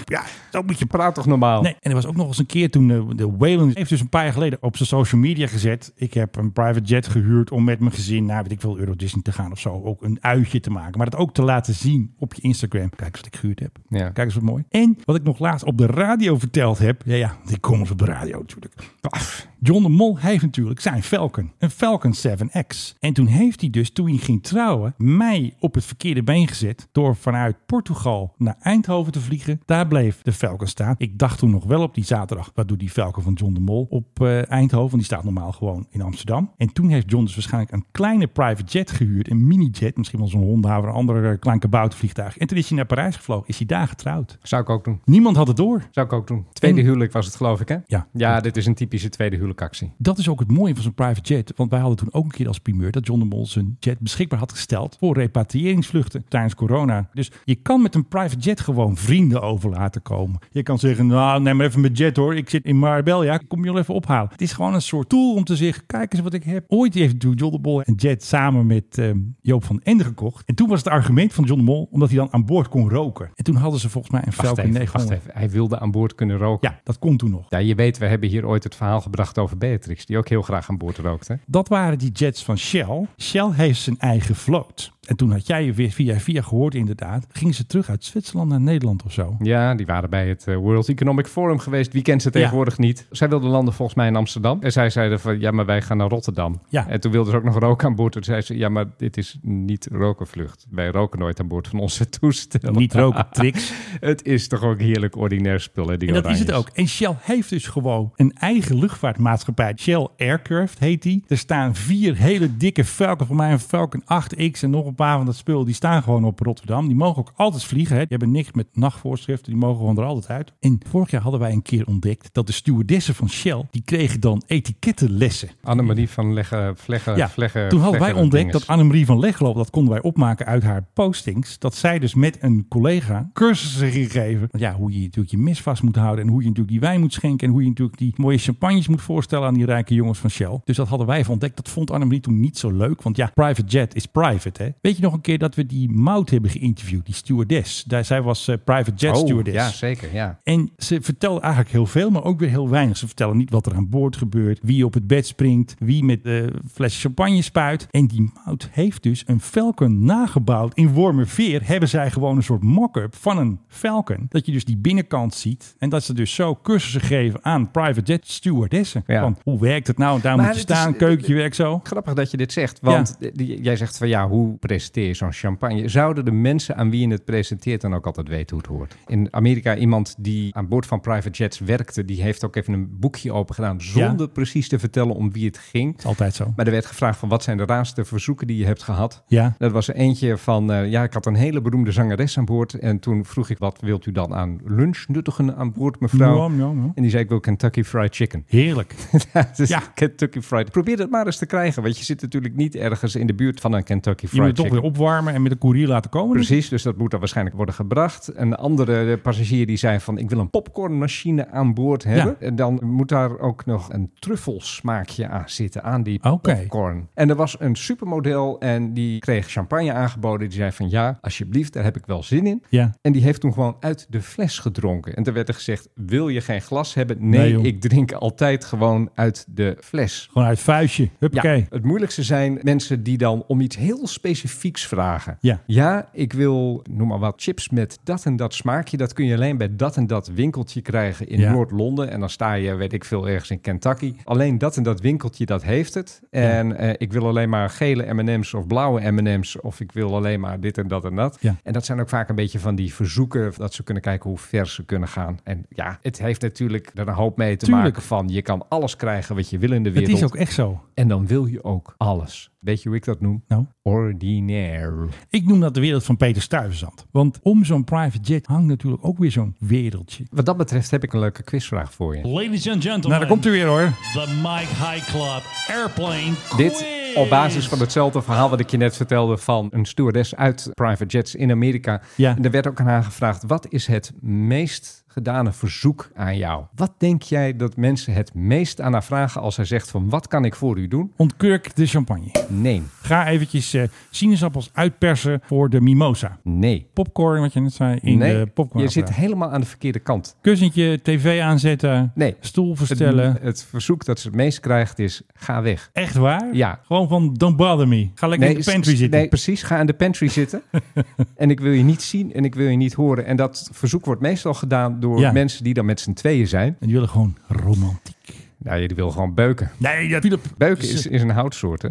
[SPEAKER 2] ja, zo moet je
[SPEAKER 3] praten toch normaal?
[SPEAKER 2] Nee, en er was ook nog eens een keer toen eh, de Waylon heeft dus een paar jaar geleden op zijn social media gezet. Ik heb een private jet gehuurd om met mijn gezin naar, weet ik veel, Euro Disney te gaan of zo. Ook een uitje te maken. Maar dat ook te laten zien op je Instagram. Kijk eens wat ik gehuurd heb.
[SPEAKER 3] Ja.
[SPEAKER 2] Kijk eens wat mooi. En wat ik nog laatst op de radio verteld heb. Ja, ja, die komen op de radio natuurlijk. Paf. John de Mol heeft natuurlijk zijn Falcon. Een Falcon 7X. En toen heeft hij dus, toen hij ging trouwen, mij op het verkeerde been gezet. Door vanuit Portugal naar Eindhoven te vliegen. Daar bleef de Falcon staan. Ik dacht toen nog wel op die zaterdag. Wat doet die Falcon van John de Mol op eh, Eindhoven? Want die staat normaal gewoon in Amsterdam. En toen heeft John dus waarschijnlijk een kleine private jet gehuurd. Een mini-jet. Misschien wel zo'n Honda of een ander eh, klein kaboutervliegtuig. En toen is hij naar Parijs gevlogen. Is hij daar getrouwd.
[SPEAKER 3] Zou ik ook doen.
[SPEAKER 2] Niemand had het door.
[SPEAKER 3] Zou ik ook doen. Tweede huwelijk was het, geloof ik, hè?
[SPEAKER 2] Ja.
[SPEAKER 3] Ja, dit is een typische tweede Natuurlijk actie.
[SPEAKER 2] Dat is ook het mooie van zo'n private jet. Want wij hadden toen ook een keer als primeur dat John de Mol zijn jet beschikbaar had gesteld voor repatriëringsvluchten tijdens corona. Dus je kan met een private jet gewoon vrienden over laten komen. Je kan zeggen, nou neem maar even mijn jet hoor. Ik zit in Marbella, kom je wel even ophalen. Het is gewoon een soort tool om te zeggen, kijk eens wat ik heb. Ooit heeft John de Mol een jet samen met ehm, Joop van Ende gekocht. En toen was het argument van John de Mol, omdat hij dan aan boord kon roken. En toen hadden ze volgens mij een
[SPEAKER 3] Wacht
[SPEAKER 2] Falcon
[SPEAKER 3] even, wacht
[SPEAKER 2] 900.
[SPEAKER 3] even. Hij wilde aan boord kunnen roken.
[SPEAKER 2] Ja, dat kon toen nog.
[SPEAKER 3] Ja, je weet, we hebben hier ooit het verhaal gebracht over Beatrix, die ook heel graag aan boord rookte.
[SPEAKER 2] Dat waren die jets van Shell. Shell heeft zijn eigen vloot. En toen had jij je weer via via gehoord inderdaad. Gingen ze terug uit Zwitserland naar Nederland of zo.
[SPEAKER 3] Ja, die waren bij het eh, World Economic Forum geweest. Wie kent ze tegenwoordig niet? Zij wilden landen volgens mij in Amsterdam. En zij zeiden van, ja, maar wij gaan naar Rotterdam.
[SPEAKER 2] Ja.
[SPEAKER 3] En toen wilden ze ook nog rook aan boord. Toen zei ze, ja, maar dit is niet rokenvlucht. Wij roken nooit aan boord van onze toestellen.
[SPEAKER 2] Niet roken, tricks.
[SPEAKER 3] het is toch ook heerlijk ordinair spullen, die
[SPEAKER 2] En dat is het
[SPEAKER 3] oranjes.
[SPEAKER 2] ook. En Shell heeft dus gewoon een eigen luchtvaartmaatschappij. Shell Aircraft heet die. Er staan vier hele dikke Falcon. Voor mij een Falcon 8X en nog een paar van dat spul. Die staan gewoon op Rotterdam. Die mogen ook altijd vliegen. Hè. Die hebben niks met nachtvoorschriften. Die mogen gewoon er altijd uit. En vorig jaar hadden wij een keer ontdekt dat de stewardessen van Shell... die kregen dan etikettenlessen.
[SPEAKER 3] Annemarie van Leggen, Vleggen,
[SPEAKER 2] Ja,
[SPEAKER 3] Vleggen.
[SPEAKER 2] toen hadden wij
[SPEAKER 3] Vleggen-
[SPEAKER 2] ontdekt
[SPEAKER 3] dinges.
[SPEAKER 2] dat Annemarie van Leglo, dat konden wij opmaken uit haar postings, dat zij dus met een collega cursussen ging geven. Want ja, hoe je natuurlijk je mis vast moet houden en hoe je natuurlijk die wijn moet schenken en hoe je natuurlijk die mooie champagnes moet voorstellen aan die rijke jongens van Shell. Dus dat hadden wij even ontdekt. Dat vond Annemarie toen niet zo leuk, want ja, private jet is private, hè. Weet je nog een keer dat we die Mout hebben geïnterviewd, die stewardess. Daar, zij was eh, private jet
[SPEAKER 3] Oh,
[SPEAKER 2] stewardess.
[SPEAKER 3] Ja, zeker, ja.
[SPEAKER 2] En ze vertellen eigenlijk heel veel, maar ook weer heel weinig. Ze vertellen niet wat er aan boord gebeurt, wie op het bed springt, wie met de fles champagne spuit. En die mout heeft dus een Falcon nagebouwd. In Wormerveer hebben zij gewoon een soort mock-up van een Falcon. Dat je dus die binnenkant ziet en dat ze dus zo cursussen geven aan private jet stewardessen. Van, hoe werkt het nou? Daar
[SPEAKER 3] Maar
[SPEAKER 2] moet je
[SPEAKER 3] het is-
[SPEAKER 2] staan, keukentje werkt zo.
[SPEAKER 3] Grappig dat je dit zegt, want d- d- jij zegt van ja, hoe presenteer je zo'n champagne? Zouden de mensen aan wie je het presenteert dan ook altijd weten hoe het hoort? In Amerika, iemand die aan boord van private jets werkte, die heeft ook even een boekje open gedaan zonder precies te vertellen om wie het ging.
[SPEAKER 2] Altijd zo.
[SPEAKER 3] Maar er werd gevraagd van wat zijn de raarste verzoeken die je hebt gehad?
[SPEAKER 2] Ja.
[SPEAKER 3] Dat was er eentje van, eh, ja, ik had een hele beroemde zangeres aan boord en toen vroeg ik wat wilt u dan aan lunch nuttigen aan boord mevrouw?
[SPEAKER 2] Ja, ja, ja.
[SPEAKER 3] En die zei ik wil Kentucky Fried Chicken.
[SPEAKER 2] Heerlijk.
[SPEAKER 3] Dus Kentucky Fried. Probeer dat maar eens te krijgen, want je zit natuurlijk niet ergens in de buurt van een Kentucky
[SPEAKER 2] Je moet het
[SPEAKER 3] Fried
[SPEAKER 2] toch weer
[SPEAKER 3] Chicken.
[SPEAKER 2] opwarmen en met een koerier laten komen.
[SPEAKER 3] Precies, dus dat moet dan waarschijnlijk worden gebracht. Een andere passagier die zei van ik wil een popcornmachine aan boord hebben. En dan moet daar ook nog een truffelsmaakje aan zitten, aan die popcorn. En er was een supermodel en die kreeg champagne aangeboden. Die zei van ja, alsjeblieft, daar heb ik wel zin in.
[SPEAKER 2] Ja.
[SPEAKER 3] En die heeft toen gewoon uit de fles gedronken. En toen werd er gezegd, wil je geen glas hebben?
[SPEAKER 2] Nee,
[SPEAKER 3] Nee,
[SPEAKER 2] joh.
[SPEAKER 3] ik drink altijd gewoon uit de fles.
[SPEAKER 2] Gewoon uit vuistje. Huppakee.
[SPEAKER 3] Ja, het moeilijkste zijn mensen die dan om iets heel specifieks vragen.
[SPEAKER 2] Ja.
[SPEAKER 3] ik wil, noem maar wat, chips met dat en dat smaakje. Dat kun je alleen bij dat en dat winkeltje krijgen in
[SPEAKER 2] Ja.
[SPEAKER 3] Noord-Londen. En dan sta je, weet ik veel, ergens in Kentucky. Alleen dat en dat winkeltje, dat heeft het. En eh, ik wil alleen maar gele M&M's of blauwe M&M's. Of ik wil alleen maar dit en dat en dat.
[SPEAKER 2] Ja.
[SPEAKER 3] En dat zijn ook vaak een beetje van die verzoeken... dat ze kunnen kijken hoe ver ze kunnen gaan. En ja, het heeft natuurlijk er een hoop mee te
[SPEAKER 2] Tuurlijk.
[SPEAKER 3] maken van... je kan alles krijgen wat je wil in de
[SPEAKER 2] Het
[SPEAKER 3] wereld.
[SPEAKER 2] is ook echt zo.
[SPEAKER 3] En dan wil je ook alles. Weet je hoe ik dat noem?
[SPEAKER 2] Nou?
[SPEAKER 3] Ordinair.
[SPEAKER 2] Ik noem dat de wereld van Peter Stuyvesant. Want om zo'n private jet hangt natuurlijk ook weer zo'n wereldje.
[SPEAKER 3] Wat dat betreft heb ik een leuke quizvraag voor je.
[SPEAKER 12] Ladies and gentlemen.
[SPEAKER 2] Nou, daar komt u weer hoor.
[SPEAKER 12] The Mike High Club Airplane
[SPEAKER 3] Dit op basis van hetzelfde verhaal wat ik je net vertelde van een stewardess uit private jets in Amerika.
[SPEAKER 2] Ja.
[SPEAKER 3] En er werd ook aan haar gevraagd, wat is het meest gedane verzoek aan jou? Wat denk jij dat mensen het meest aan haar vragen als zij zegt van wat kan ik voor u doen?
[SPEAKER 2] Ontkurk de champagne.
[SPEAKER 3] Nee.
[SPEAKER 2] Ga eventjes eh, sinaasappels uitpersen voor de mimosa.
[SPEAKER 3] Nee.
[SPEAKER 2] Popcorn, wat je net zei, in
[SPEAKER 3] nee.
[SPEAKER 2] de popcorn.
[SPEAKER 3] je zit helemaal aan de verkeerde kant.
[SPEAKER 2] Kussentje, tv aanzetten,
[SPEAKER 3] Nee.
[SPEAKER 2] stoel verstellen.
[SPEAKER 3] Het, het verzoek dat ze het meest krijgt is ga weg.
[SPEAKER 2] Echt waar?
[SPEAKER 3] Ja.
[SPEAKER 2] Gewoon van, don't bother me. Ga lekker in de
[SPEAKER 3] s-
[SPEAKER 2] pantry
[SPEAKER 3] s-
[SPEAKER 2] zitten.
[SPEAKER 3] Nee, precies. Ga in de pantry zitten. en ik wil je niet zien en ik wil je niet horen. En dat verzoek wordt meestal gedaan door
[SPEAKER 2] Ja.
[SPEAKER 3] mensen die dan met z'n tweeën zijn.
[SPEAKER 2] En die willen gewoon romantiek.
[SPEAKER 3] Nou, je wil gewoon beuken.
[SPEAKER 2] Nee, dat Philip. dus, eh,
[SPEAKER 3] Beuken is, is een houtsoort, hè?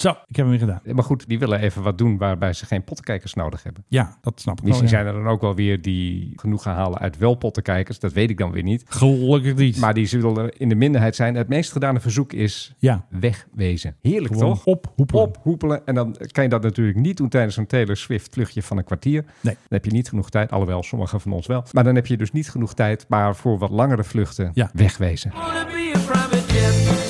[SPEAKER 2] Zo, ik heb hem weer gedaan.
[SPEAKER 3] Maar goed, die willen even wat doen waarbij ze geen pottenkijkers nodig hebben.
[SPEAKER 2] Ja, dat snap ik wel,
[SPEAKER 3] Misschien
[SPEAKER 2] Oh, ja.
[SPEAKER 3] zijn er dan ook wel weer die genoeg gaan halen uit wel pottenkijkers. Dat weet ik dan weer niet.
[SPEAKER 2] Gelukkig niet.
[SPEAKER 3] Maar die zullen in de minderheid zijn. Het meest gedane verzoek is
[SPEAKER 2] Ja.
[SPEAKER 3] wegwezen. Heerlijk
[SPEAKER 2] Gewoon
[SPEAKER 3] toch?
[SPEAKER 2] Ophoepelen.
[SPEAKER 3] ophoepelen. En dan kan je dat natuurlijk niet doen tijdens een Taylor Swift vluchtje van een kwartier.
[SPEAKER 2] Nee.
[SPEAKER 3] Dan heb je niet genoeg tijd. Alhoewel, sommigen van ons wel. Maar dan heb je dus niet genoeg tijd. Maar voor wat langere vluchten
[SPEAKER 2] Ja.
[SPEAKER 3] wegwezen.
[SPEAKER 4] Wanna be a private jet.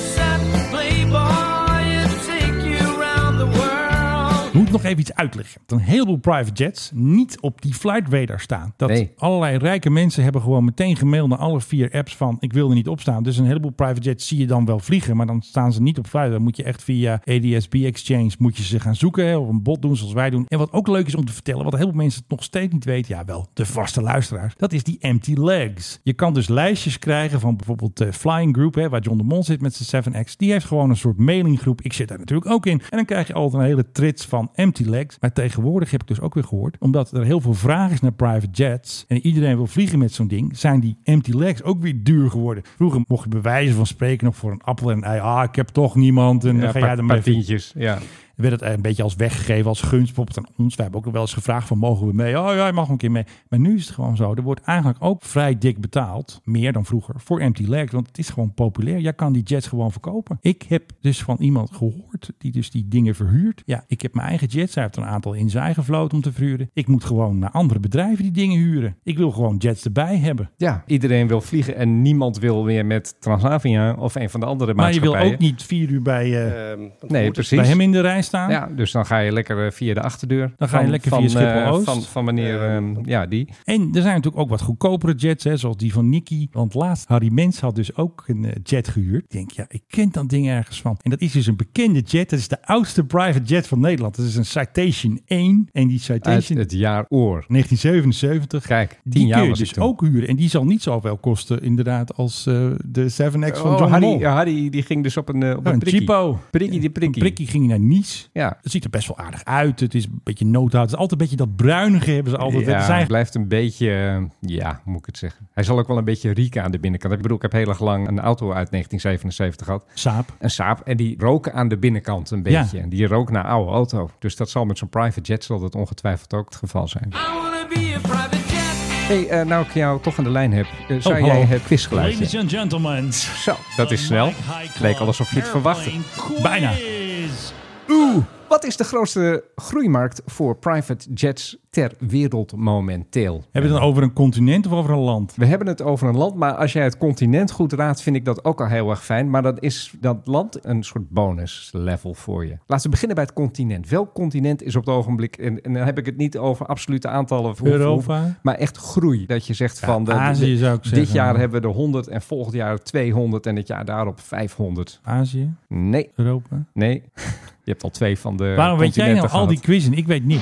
[SPEAKER 2] Moet nog even iets uitleggen. Dat een heleboel private jets niet op die flight radar staan. Dat allerlei rijke mensen hebben gewoon meteen gemaild naar alle vier apps van ik wil er niet op staan. Dus een heleboel private jets zie je dan wel vliegen, maar dan staan ze niet op flight. Dan moet je echt via ADSB Exchange moet je ze gaan zoeken hè, of een bot doen zoals wij doen. En wat ook leuk is om te vertellen, wat heel veel mensen het nog steeds niet weten, ja wel, de vaste luisteraars, dat is die empty legs. Je kan dus lijstjes krijgen van bijvoorbeeld de Flying Group, hè, waar John de Mol zit met zijn 7X. Die heeft gewoon een soort mailinggroep. Ik zit daar natuurlijk ook in. En dan krijg je altijd een hele trits van empty legs. Maar tegenwoordig heb ik dus ook weer gehoord, omdat er heel veel vraag is naar private jets en iedereen wil vliegen met zo'n ding, zijn die empty legs ook weer duur geworden. Vroeger mocht je bewijzen van spreken nog voor een appel en een ei. Ah, ik heb toch niemand. En dan ga jij ermee
[SPEAKER 3] tientjes. Eh, Ja.
[SPEAKER 2] werd het een beetje als weggegeven, als gunst bijvoorbeeld aan ons. Wij hebben ook nog wel eens gevraagd van mogen we mee? Oh ja, je mag een keer mee. Maar nu is het gewoon zo. Er wordt eigenlijk ook vrij dik betaald, meer dan vroeger, voor empty legs. Want het is gewoon populair. Jij kan die jets gewoon verkopen. Ik heb dus van iemand gehoord die dus die dingen verhuurt. Ja, ik heb mijn eigen jets. Hij heeft een aantal in zijn eigen vloot om te verhuren. Ik moet gewoon naar andere bedrijven die dingen huren. Ik wil gewoon jets erbij hebben.
[SPEAKER 3] Ja, iedereen wil vliegen en niemand wil weer met Transavia of een van de andere
[SPEAKER 2] Maar je wil
[SPEAKER 3] maatschappijen.
[SPEAKER 2] ook niet vier uur bij, eh,
[SPEAKER 3] nee, precies.
[SPEAKER 2] bij hem in de rij staan.
[SPEAKER 3] Ja, dus dan ga je lekker eh, via de achterdeur.
[SPEAKER 2] Dan ga je
[SPEAKER 3] Van-
[SPEAKER 2] lekker
[SPEAKER 3] van,
[SPEAKER 2] via Schiphol-Oost.
[SPEAKER 3] eh, Van, van meneer, ehm, ja, die.
[SPEAKER 2] En er zijn natuurlijk ook wat goedkopere jets, hè, zoals die van Nicky. Want laatst, Harry Mens had dus ook een eh, jet gehuurd. Ik denk, ja, ik ken dat ding ergens van. En dat is dus een bekende jet. Dat is de oudste private jet van Nederland. Dat is een Citation 1. En die
[SPEAKER 3] Uit
[SPEAKER 2] Citation...
[SPEAKER 3] het jaar oor.
[SPEAKER 2] 1977.
[SPEAKER 3] Kijk, tien
[SPEAKER 2] die
[SPEAKER 3] jaar
[SPEAKER 2] kun je
[SPEAKER 3] was ik
[SPEAKER 2] dus
[SPEAKER 3] toen.
[SPEAKER 2] ook huren. En die zal niet zoveel kosten, inderdaad, als eh, de 7X van
[SPEAKER 3] Oh,
[SPEAKER 2] John de Mol.
[SPEAKER 3] Harry, Harry, die ging dus op een, eh, op
[SPEAKER 2] Ja,
[SPEAKER 3] een
[SPEAKER 2] een
[SPEAKER 3] prikkie.
[SPEAKER 2] cheapo.
[SPEAKER 3] Prikkie, die prikkie.
[SPEAKER 2] Prikkie ging naar Nice.
[SPEAKER 3] Ja.
[SPEAKER 2] Het ziet er best wel aardig uit. Het is een beetje noodhout. Het is altijd een beetje dat bruinige hebben ze altijd.
[SPEAKER 3] ja,
[SPEAKER 2] het zijn
[SPEAKER 3] hij blijft een beetje, eh, ja, hoe moet ik het zeggen. Hij zal ook wel een beetje rieken aan de binnenkant. Ik bedoel, ik heb heel erg lang een auto uit 1977 gehad.
[SPEAKER 2] Saap.
[SPEAKER 3] Een Saab. En die roken aan de binnenkant een beetje.
[SPEAKER 2] Ja.
[SPEAKER 3] En die rook naar oude auto. Dus dat zal met zo'n private jet zal dat ongetwijfeld ook het geval zijn. Hey, eh, nou ik jou toch aan de lijn heb, eh, zou jij het quizgeluidje?
[SPEAKER 12] Oh, Ladies and gentlemen.
[SPEAKER 3] Zo, dat is snel. Leek alsof je het verwachtte. Bijna. Oeh, wat is de grootste groeimarkt voor private jets ter wereld momenteel?
[SPEAKER 2] Hebben we het dan over een continent of over een land?
[SPEAKER 3] We hebben het over een land, maar als jij het continent goed raadt, vind ik dat ook al heel erg fijn. Maar dan is dat land een soort bonus level voor je. Laten we beginnen bij het continent. Welk continent is op het ogenblik, en, en dan heb ik het niet over absolute aantallen. Of hoeveel-
[SPEAKER 2] Europa?
[SPEAKER 3] maar echt groei. Dat je zegt van, de-
[SPEAKER 2] Azië
[SPEAKER 3] de-
[SPEAKER 2] zou ik
[SPEAKER 3] dit
[SPEAKER 2] zeggen.
[SPEAKER 3] jaar hebben we de 100 en volgend jaar 200 en het jaar daarop 500.
[SPEAKER 2] Azië?
[SPEAKER 3] Nee.
[SPEAKER 2] Europa?
[SPEAKER 3] Nee. Je hebt al twee van de
[SPEAKER 2] Waarom weet jij nou
[SPEAKER 3] Eh, continenten
[SPEAKER 2] al die
[SPEAKER 3] gehad.
[SPEAKER 2] quizzen? Ik weet niet.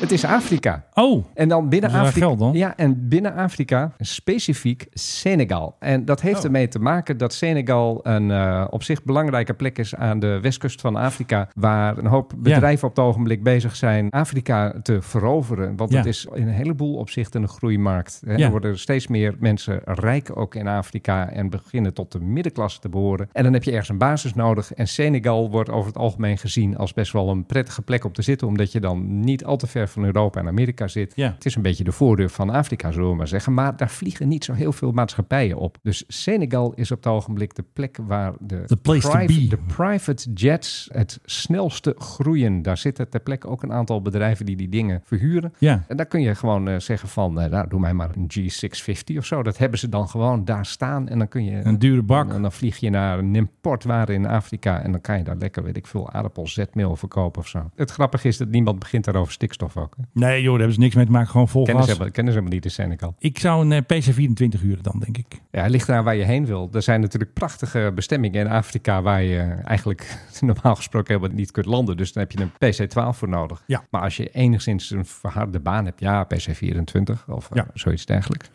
[SPEAKER 3] Het is Afrika.
[SPEAKER 2] Oh,
[SPEAKER 3] En dan binnen
[SPEAKER 2] Is er daar
[SPEAKER 3] Afrika.
[SPEAKER 2] geld dan?
[SPEAKER 3] Ja, en binnen Afrika specifiek Senegal. En dat
[SPEAKER 2] Oh.
[SPEAKER 3] heeft ermee te maken dat Senegal een eh, op zich belangrijke plek is aan de westkust van Afrika. Waar een hoop bedrijven op het ogenblik bezig zijn Afrika te veroveren. Want
[SPEAKER 2] Ja.
[SPEAKER 3] het is in een heleboel opzichten een groeimarkt. Hè.
[SPEAKER 2] Ja.
[SPEAKER 3] Er worden steeds meer mensen rijk ook in Afrika. En beginnen tot de middenklasse te behoren. En dan heb je ergens een basis nodig. En Senegal wordt over het algemeen gezien als best wel een prettige plek om te zitten. Omdat je dan niet al te ver van Europa en Amerika zit.
[SPEAKER 2] Ja.
[SPEAKER 3] Het is een beetje de voordeur van Afrika, zullen we maar zeggen. Maar daar vliegen niet zo heel veel maatschappijen op. Dus Senegal is op het ogenblik de plek waar de,
[SPEAKER 2] The place to
[SPEAKER 3] private,
[SPEAKER 2] be.
[SPEAKER 3] de private jets het snelste groeien. Daar zitten ter plekke ook een aantal bedrijven die die dingen verhuren.
[SPEAKER 2] Ja.
[SPEAKER 3] En daar kun je gewoon eh, zeggen van, eh, nou, doe mij maar een G650 of zo. Dat hebben ze dan gewoon daar staan. En dan kun je...
[SPEAKER 2] een dure bak.
[SPEAKER 3] En dan vlieg je naar een importwaren in Afrika en dan kan je daar lekker, weet ik veel, aardappel zetmeel verkopen of zo. Het grappige is dat niemand begint daar over stikstof ook. hè.
[SPEAKER 2] Nee joh, daar hebben ze niks mee te maken. Gewoon vol
[SPEAKER 3] Kennis
[SPEAKER 2] gas.
[SPEAKER 3] hebben, kennis hebben niet in Senegal.
[SPEAKER 2] Ik zou een eh, PC24 huren dan, denk ik.
[SPEAKER 3] Ja, het ligt daar waar je heen wil. Er zijn natuurlijk prachtige bestemmingen in Afrika waar je eigenlijk normaal gesproken helemaal niet kunt landen. Dus dan heb je een PC-12 voor nodig.
[SPEAKER 2] Ja.
[SPEAKER 3] Maar als je enigszins een verharde baan hebt, ja, PC-24 of eh,
[SPEAKER 2] Ja.
[SPEAKER 3] zoiets dergelijks.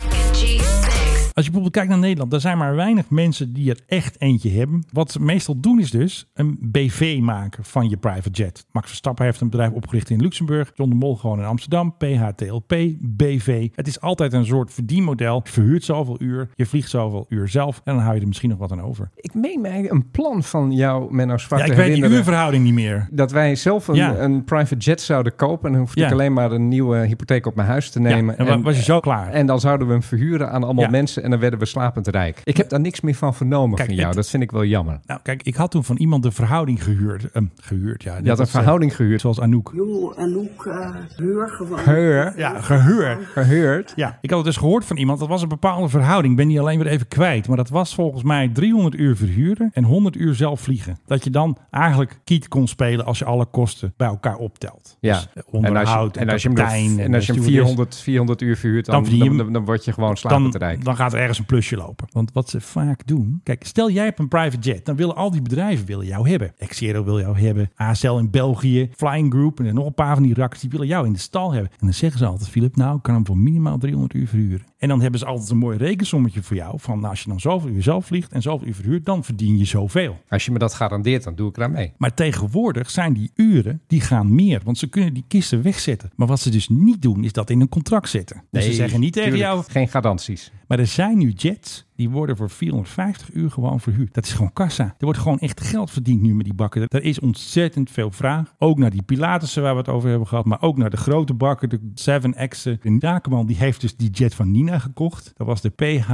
[SPEAKER 2] Als je bijvoorbeeld kijkt naar Nederland, daar zijn maar weinig mensen die er echt eentje hebben. Wat ze meestal doen is dus een BV maken van je private jet. Max Verstappen heeft een bedrijf opgericht in Luxemburg. John de Mol gewoon in Amsterdam. PHTLP, BV. Het is altijd een soort verdienmodel. Je verhuurt zoveel uur, je vliegt zoveel uur zelf en dan hou je er misschien nog wat aan over.
[SPEAKER 3] Ik meen mij een plan van jou, Menno Zwart,
[SPEAKER 2] Ja, ik weet
[SPEAKER 3] te
[SPEAKER 2] die
[SPEAKER 3] herinneren.
[SPEAKER 2] uurverhouding niet meer.
[SPEAKER 3] dat wij zelf een,
[SPEAKER 2] Ja.
[SPEAKER 3] een private jet zouden kopen. En dan hoefde
[SPEAKER 2] Ja.
[SPEAKER 3] ik alleen maar een nieuwe hypotheek op mijn huis te nemen.
[SPEAKER 2] en wa- was je zo klaar?
[SPEAKER 3] En dan zouden we hem verhuren aan allemaal
[SPEAKER 2] Ja.
[SPEAKER 3] mensen. en dan werden we slapend rijk. Ik heb daar niks meer van vernomen
[SPEAKER 2] Kijk,
[SPEAKER 3] van jou.
[SPEAKER 2] het-
[SPEAKER 3] Dat vind ik wel jammer.
[SPEAKER 2] Nou, kijk, ik had toen van iemand de verhouding gehuurd. eh, gehuurd, ja.
[SPEAKER 3] Je had een
[SPEAKER 2] Dat is, eh,
[SPEAKER 3] verhouding gehuurd.
[SPEAKER 2] Zoals Anouk.
[SPEAKER 17] Jo, en ook eh huur gewoon.
[SPEAKER 2] Gehuur. Ja, gehuur. Gehuurd. Ja, ik had het dus gehoord van iemand. Dat was een bepaalde verhouding. Ik ben die alleen weer even kwijt. Maar dat was volgens mij 300 uur verhuren en 100 uur zelf vliegen. Dat je dan eigenlijk kiet kon spelen als je alle kosten bij elkaar optelt.
[SPEAKER 3] Ja.
[SPEAKER 2] Dus, eh, onderhoud,
[SPEAKER 3] en als je hem, er-
[SPEAKER 2] kapitein
[SPEAKER 3] en als je hem
[SPEAKER 2] stewardess.
[SPEAKER 3] 400, 400 uur verhuurt, dan,
[SPEAKER 2] Dan verdien je
[SPEAKER 3] dan,
[SPEAKER 2] hem-
[SPEAKER 3] dan, dan word je gewoon
[SPEAKER 2] dan,
[SPEAKER 3] slapend rijk.
[SPEAKER 2] dan gaat er ergens een plusje lopen. Want wat ze vaak doen... Kijk, stel jij hebt een private jet. Dan willen al die bedrijven willen jou hebben. Exero wil jou hebben. ASL in België. Flying Group. En er nog een paar van die rakkers. Die willen jou in de stal hebben. En dan zeggen ze altijd... Filip, nou, ik kan hem voor minimaal 300 uur verhuren. En dan hebben ze altijd een mooi rekensommetje voor jou. Van nou, als je dan zoveel uur zelf vliegt en zoveel uur verhuurt... dan verdien je zoveel.
[SPEAKER 3] Als je me dat garandeert, dan doe ik eraan mee.
[SPEAKER 2] Maar tegenwoordig zijn die uren, die gaan meer. Want ze kunnen die kisten wegzetten. Maar wat ze dus niet doen, is dat in een contract zetten. Dus
[SPEAKER 3] Nee,
[SPEAKER 2] ze zeggen niet tegen
[SPEAKER 3] tuurlijk,
[SPEAKER 2] jou...
[SPEAKER 3] Geen garanties.
[SPEAKER 2] Maar er zijn nu jets die worden voor 450 uur gewoon verhuurd. Dat is gewoon kassa. Er wordt gewoon echt geld verdiend nu met die bakken. Er is ontzettend veel vraag. Ook naar die Pilatussen waar we het over hebben gehad. Maar ook naar de grote bakken, de 7X'en. En Dakeman die heeft dus die jet van Nina gekocht. Dat was de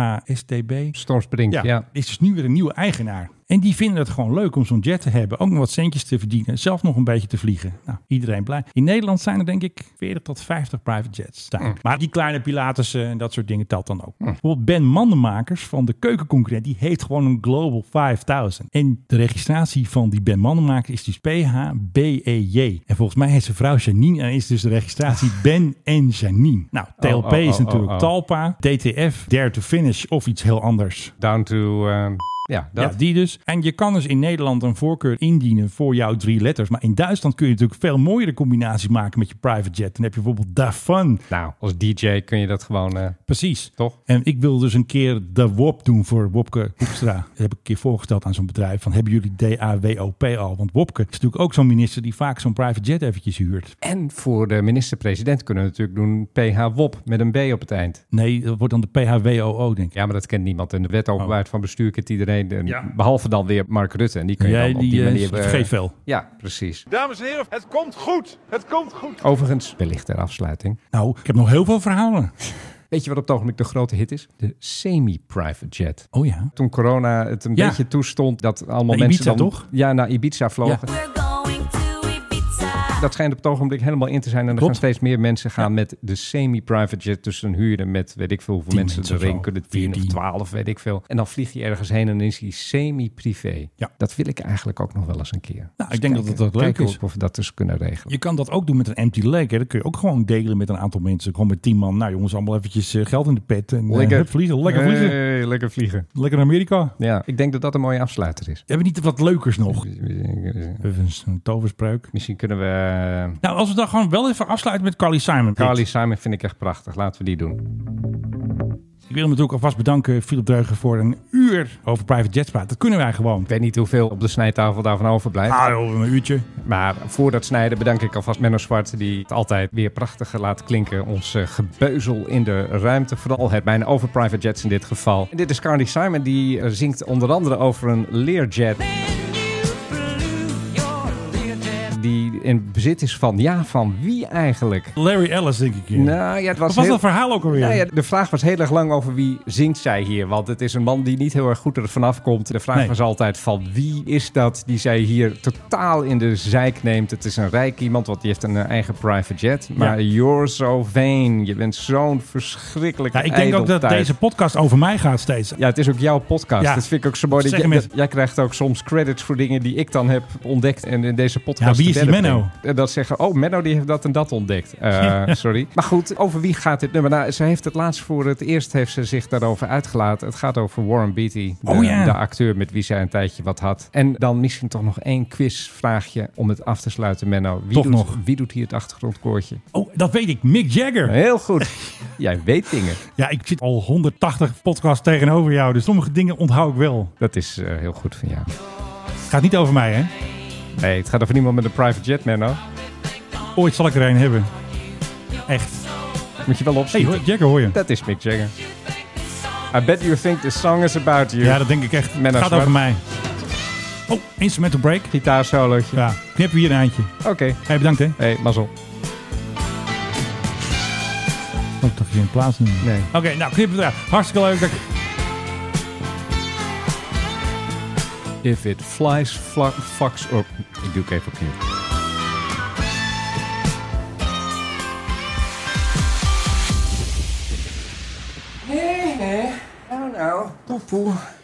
[SPEAKER 2] PHSTB.
[SPEAKER 3] Stormspring, ja.
[SPEAKER 2] Is dus nu weer een nieuwe eigenaar. En die vinden het gewoon leuk om zo'n jet te hebben. Ook nog wat centjes te verdienen. Zelf nog een beetje te vliegen. Nou, iedereen blij. In Nederland zijn er denk ik 40 tot 50 private jets. staan.
[SPEAKER 3] Mm.
[SPEAKER 2] Maar die kleine pilatussen en dat soort dingen telt dan ook. Bijvoorbeeld Ben Mandenmakers van de keukenconcurrent. Die heeft gewoon een Global 5000. En de registratie van die Ben Mandenmakers is dus PHBEJ. E En volgens mij heeft zijn vrouw Janine. En is dus de registratie Ben en Janine. Nou, TLP
[SPEAKER 3] Oh, oh,
[SPEAKER 2] is
[SPEAKER 3] oh,
[SPEAKER 2] natuurlijk
[SPEAKER 3] oh, oh.
[SPEAKER 2] Talpa. DTF, Dare to Finish of iets heel anders.
[SPEAKER 3] Down to... ehm, ja, dat.
[SPEAKER 2] Ja, die dus. En je kan dus in Nederland een voorkeur indienen voor jouw drie letters. Maar in Duitsland kun je natuurlijk veel mooiere combinaties maken met je private jet. Dan heb je bijvoorbeeld daarvan.
[SPEAKER 3] Nou, als DJ kun je dat gewoon... eh,
[SPEAKER 2] Precies.
[SPEAKER 3] Toch?
[SPEAKER 2] En ik wil dus een keer de WOP doen voor Wopke Hoekstra. Dat heb ik een keer voorgesteld aan zo'n bedrijf. Van hebben jullie DAWOP al? Want Wopke is natuurlijk ook zo'n minister die vaak zo'n private jet eventjes huurt.
[SPEAKER 3] en voor de minister-president kunnen we natuurlijk doen PH-WOP met een B op het eind.
[SPEAKER 2] Nee, dat wordt dan de PHWOO, denk ik.
[SPEAKER 3] Ja, maar dat kent niemand. En de wet openbaarheid
[SPEAKER 2] Oh.
[SPEAKER 3] van bestuur kent iedereen. En Behalve dan weer Mark Rutte. En die kun je
[SPEAKER 2] Jij,
[SPEAKER 3] dan op die,
[SPEAKER 2] die, eh,
[SPEAKER 3] manier... eh,
[SPEAKER 2] vergeet veel.
[SPEAKER 3] Ja, precies.
[SPEAKER 18] Dames en heren, het komt goed. Het komt goed.
[SPEAKER 3] Overigens, wellicht ter afsluiting.
[SPEAKER 2] Nou, ik heb nog heel veel verhalen.
[SPEAKER 3] Weet je wat op het ogenblik de grote hit is? De semi-private jet.
[SPEAKER 2] Oh ja.
[SPEAKER 3] Toen corona het een
[SPEAKER 2] Ja.
[SPEAKER 3] beetje toestond dat allemaal
[SPEAKER 2] Naar
[SPEAKER 3] mensen
[SPEAKER 2] Ibiza,
[SPEAKER 3] dan...
[SPEAKER 2] toch?
[SPEAKER 3] Ja, naar Ibiza vlogen. Dat schijnt op het ogenblik helemaal in te zijn. En er gaan steeds meer mensen gaan met de semi-private jet. Dus dan huur je er met weet ik veel hoeveel
[SPEAKER 2] Tien
[SPEAKER 3] mensen,
[SPEAKER 2] mensen of
[SPEAKER 3] erin
[SPEAKER 2] zo.
[SPEAKER 3] kunnen. Tien of
[SPEAKER 2] Veertien.
[SPEAKER 3] twaalf, weet ik veel. En dan vlieg je ergens heen en dan is die semi-privé. Dat wil ik eigenlijk ook nog wel eens een keer.
[SPEAKER 2] Nou,
[SPEAKER 3] Dus
[SPEAKER 2] ik denk dat
[SPEAKER 3] kijken-
[SPEAKER 2] dat leuk
[SPEAKER 3] kijken
[SPEAKER 2] is.
[SPEAKER 3] Of we dat dus kunnen regelen.
[SPEAKER 2] Je kan dat ook doen met een empty leg. Hè. Dat kun je ook gewoon delen met een aantal mensen. Gewoon met tien man. Nou jongens, allemaal eventjes eh, geld in de pet. En, eh, hup, vliegen. Lekker vliegen.
[SPEAKER 3] Hey, lekker vliegen.
[SPEAKER 2] Lekker naar Amerika.
[SPEAKER 3] Ja, ik denk dat dat een mooie afsluiter is.
[SPEAKER 2] Hebben we niet wat leukers nog? Even een toverspreuk.
[SPEAKER 3] Misschien kunnen we... eh,
[SPEAKER 2] Nou, als we dan gewoon wel even afsluiten met Carly Simon.
[SPEAKER 3] Carly Simon vind ik echt prachtig. Laten we die doen.
[SPEAKER 2] Ik wil hem natuurlijk alvast bedanken, Philip Dreugen, voor een uur over private jets praten. Dat kunnen wij gewoon.
[SPEAKER 3] Ik weet niet hoeveel op de snijtafel daarvan overblijft.
[SPEAKER 2] Ah, over een uurtje.
[SPEAKER 3] Maar voor dat snijden bedank ik alvast Menno Zwart, die het altijd weer prachtig laat klinken. Ons eh, gebeuzel in de ruimte, vooral het bijna over private jets in dit geval. En dit is Carly Simon, die eh, zingt onder andere over een leerjet. Die in bezit is van, ja, van wie eigenlijk?
[SPEAKER 2] Larry Ellis, denk ik. hier.
[SPEAKER 3] Nou ja, het was
[SPEAKER 2] Wat was
[SPEAKER 3] heel-
[SPEAKER 2] dat verhaal ook alweer?
[SPEAKER 3] Nou ja, de vraag was heel erg lang over wie zingt zij hier. Want het is een man die niet heel erg goed er vanaf komt. De vraag
[SPEAKER 2] Nee.
[SPEAKER 3] was altijd van wie is dat die zij hier totaal in de zeik neemt. Het is een rijk iemand, want die heeft een eh, eigen private jet. Maar you're so vain. Je bent zo'n verschrikkelijk
[SPEAKER 2] Ja, Nou, ik denk ook dat deze podcast over mij gaat steeds.
[SPEAKER 3] Ja, het is ook jouw podcast.
[SPEAKER 2] Ja.
[SPEAKER 3] Dat vind ik ook zo mooi.
[SPEAKER 2] Dat
[SPEAKER 3] Dat jij,
[SPEAKER 2] zeggen
[SPEAKER 3] dat- jij krijgt ook soms credits voor dingen die ik dan heb ontdekt en in deze podcast.
[SPEAKER 2] Ja, wie is
[SPEAKER 3] te
[SPEAKER 2] die
[SPEAKER 3] verder
[SPEAKER 2] Menno?
[SPEAKER 3] breng. En dat zeggen, oh, Menno die heeft dat en dat ontdekt. Eh, sorry. Maar goed, over wie gaat dit nummer? Nou, ze heeft het laatst voor het eerst heeft ze zich daarover uitgelaten. Het gaat over Warren Beatty, de,
[SPEAKER 2] Oh ja.
[SPEAKER 3] de acteur met wie zij een tijdje wat had. En dan misschien toch nog één quizvraagje om het af te sluiten, Menno. Wie
[SPEAKER 2] Toch
[SPEAKER 3] doet,
[SPEAKER 2] nog.
[SPEAKER 3] Wie doet hier het achtergrondkoortje?
[SPEAKER 2] Oh, dat weet ik. Mick Jagger.
[SPEAKER 3] Heel goed. Jij weet dingen.
[SPEAKER 2] Ja, ik zit al 180 podcasts tegenover jou. Dus sommige dingen onthoud ik wel.
[SPEAKER 3] Dat is eh, heel goed van jou.
[SPEAKER 2] Het gaat niet over mij, hè?
[SPEAKER 3] Nee, het gaat over niemand met een private jet, Menno.
[SPEAKER 2] Ooit zal ik er een hebben. Echt.
[SPEAKER 3] Moet je wel
[SPEAKER 2] Hey,
[SPEAKER 3] opschieten.
[SPEAKER 2] hoor, Jagger hoor je.
[SPEAKER 3] Dat is Mick Jagger. I bet you think this song is about you.
[SPEAKER 2] Ja, dat denk ik echt.
[SPEAKER 3] Menno
[SPEAKER 2] Het gaat
[SPEAKER 3] Zwart.
[SPEAKER 2] over mij. Oh, instrumental break.
[SPEAKER 3] Gitaarsolootje.
[SPEAKER 2] Ja, knippen we hier een eindje.
[SPEAKER 3] Oké.
[SPEAKER 2] Hey, bedankt hè.
[SPEAKER 3] Hey, mazzel.
[SPEAKER 2] Moet ik toch geen plaats nemen?
[SPEAKER 3] Nee.
[SPEAKER 2] Oké, nou knippen we eruit. Hartstikke leuk. dat ik-
[SPEAKER 3] If it flies, fla- fucks up. Ik doe ik even opnieuw.
[SPEAKER 9] Hé, hé. Nou, nou. Poepoe.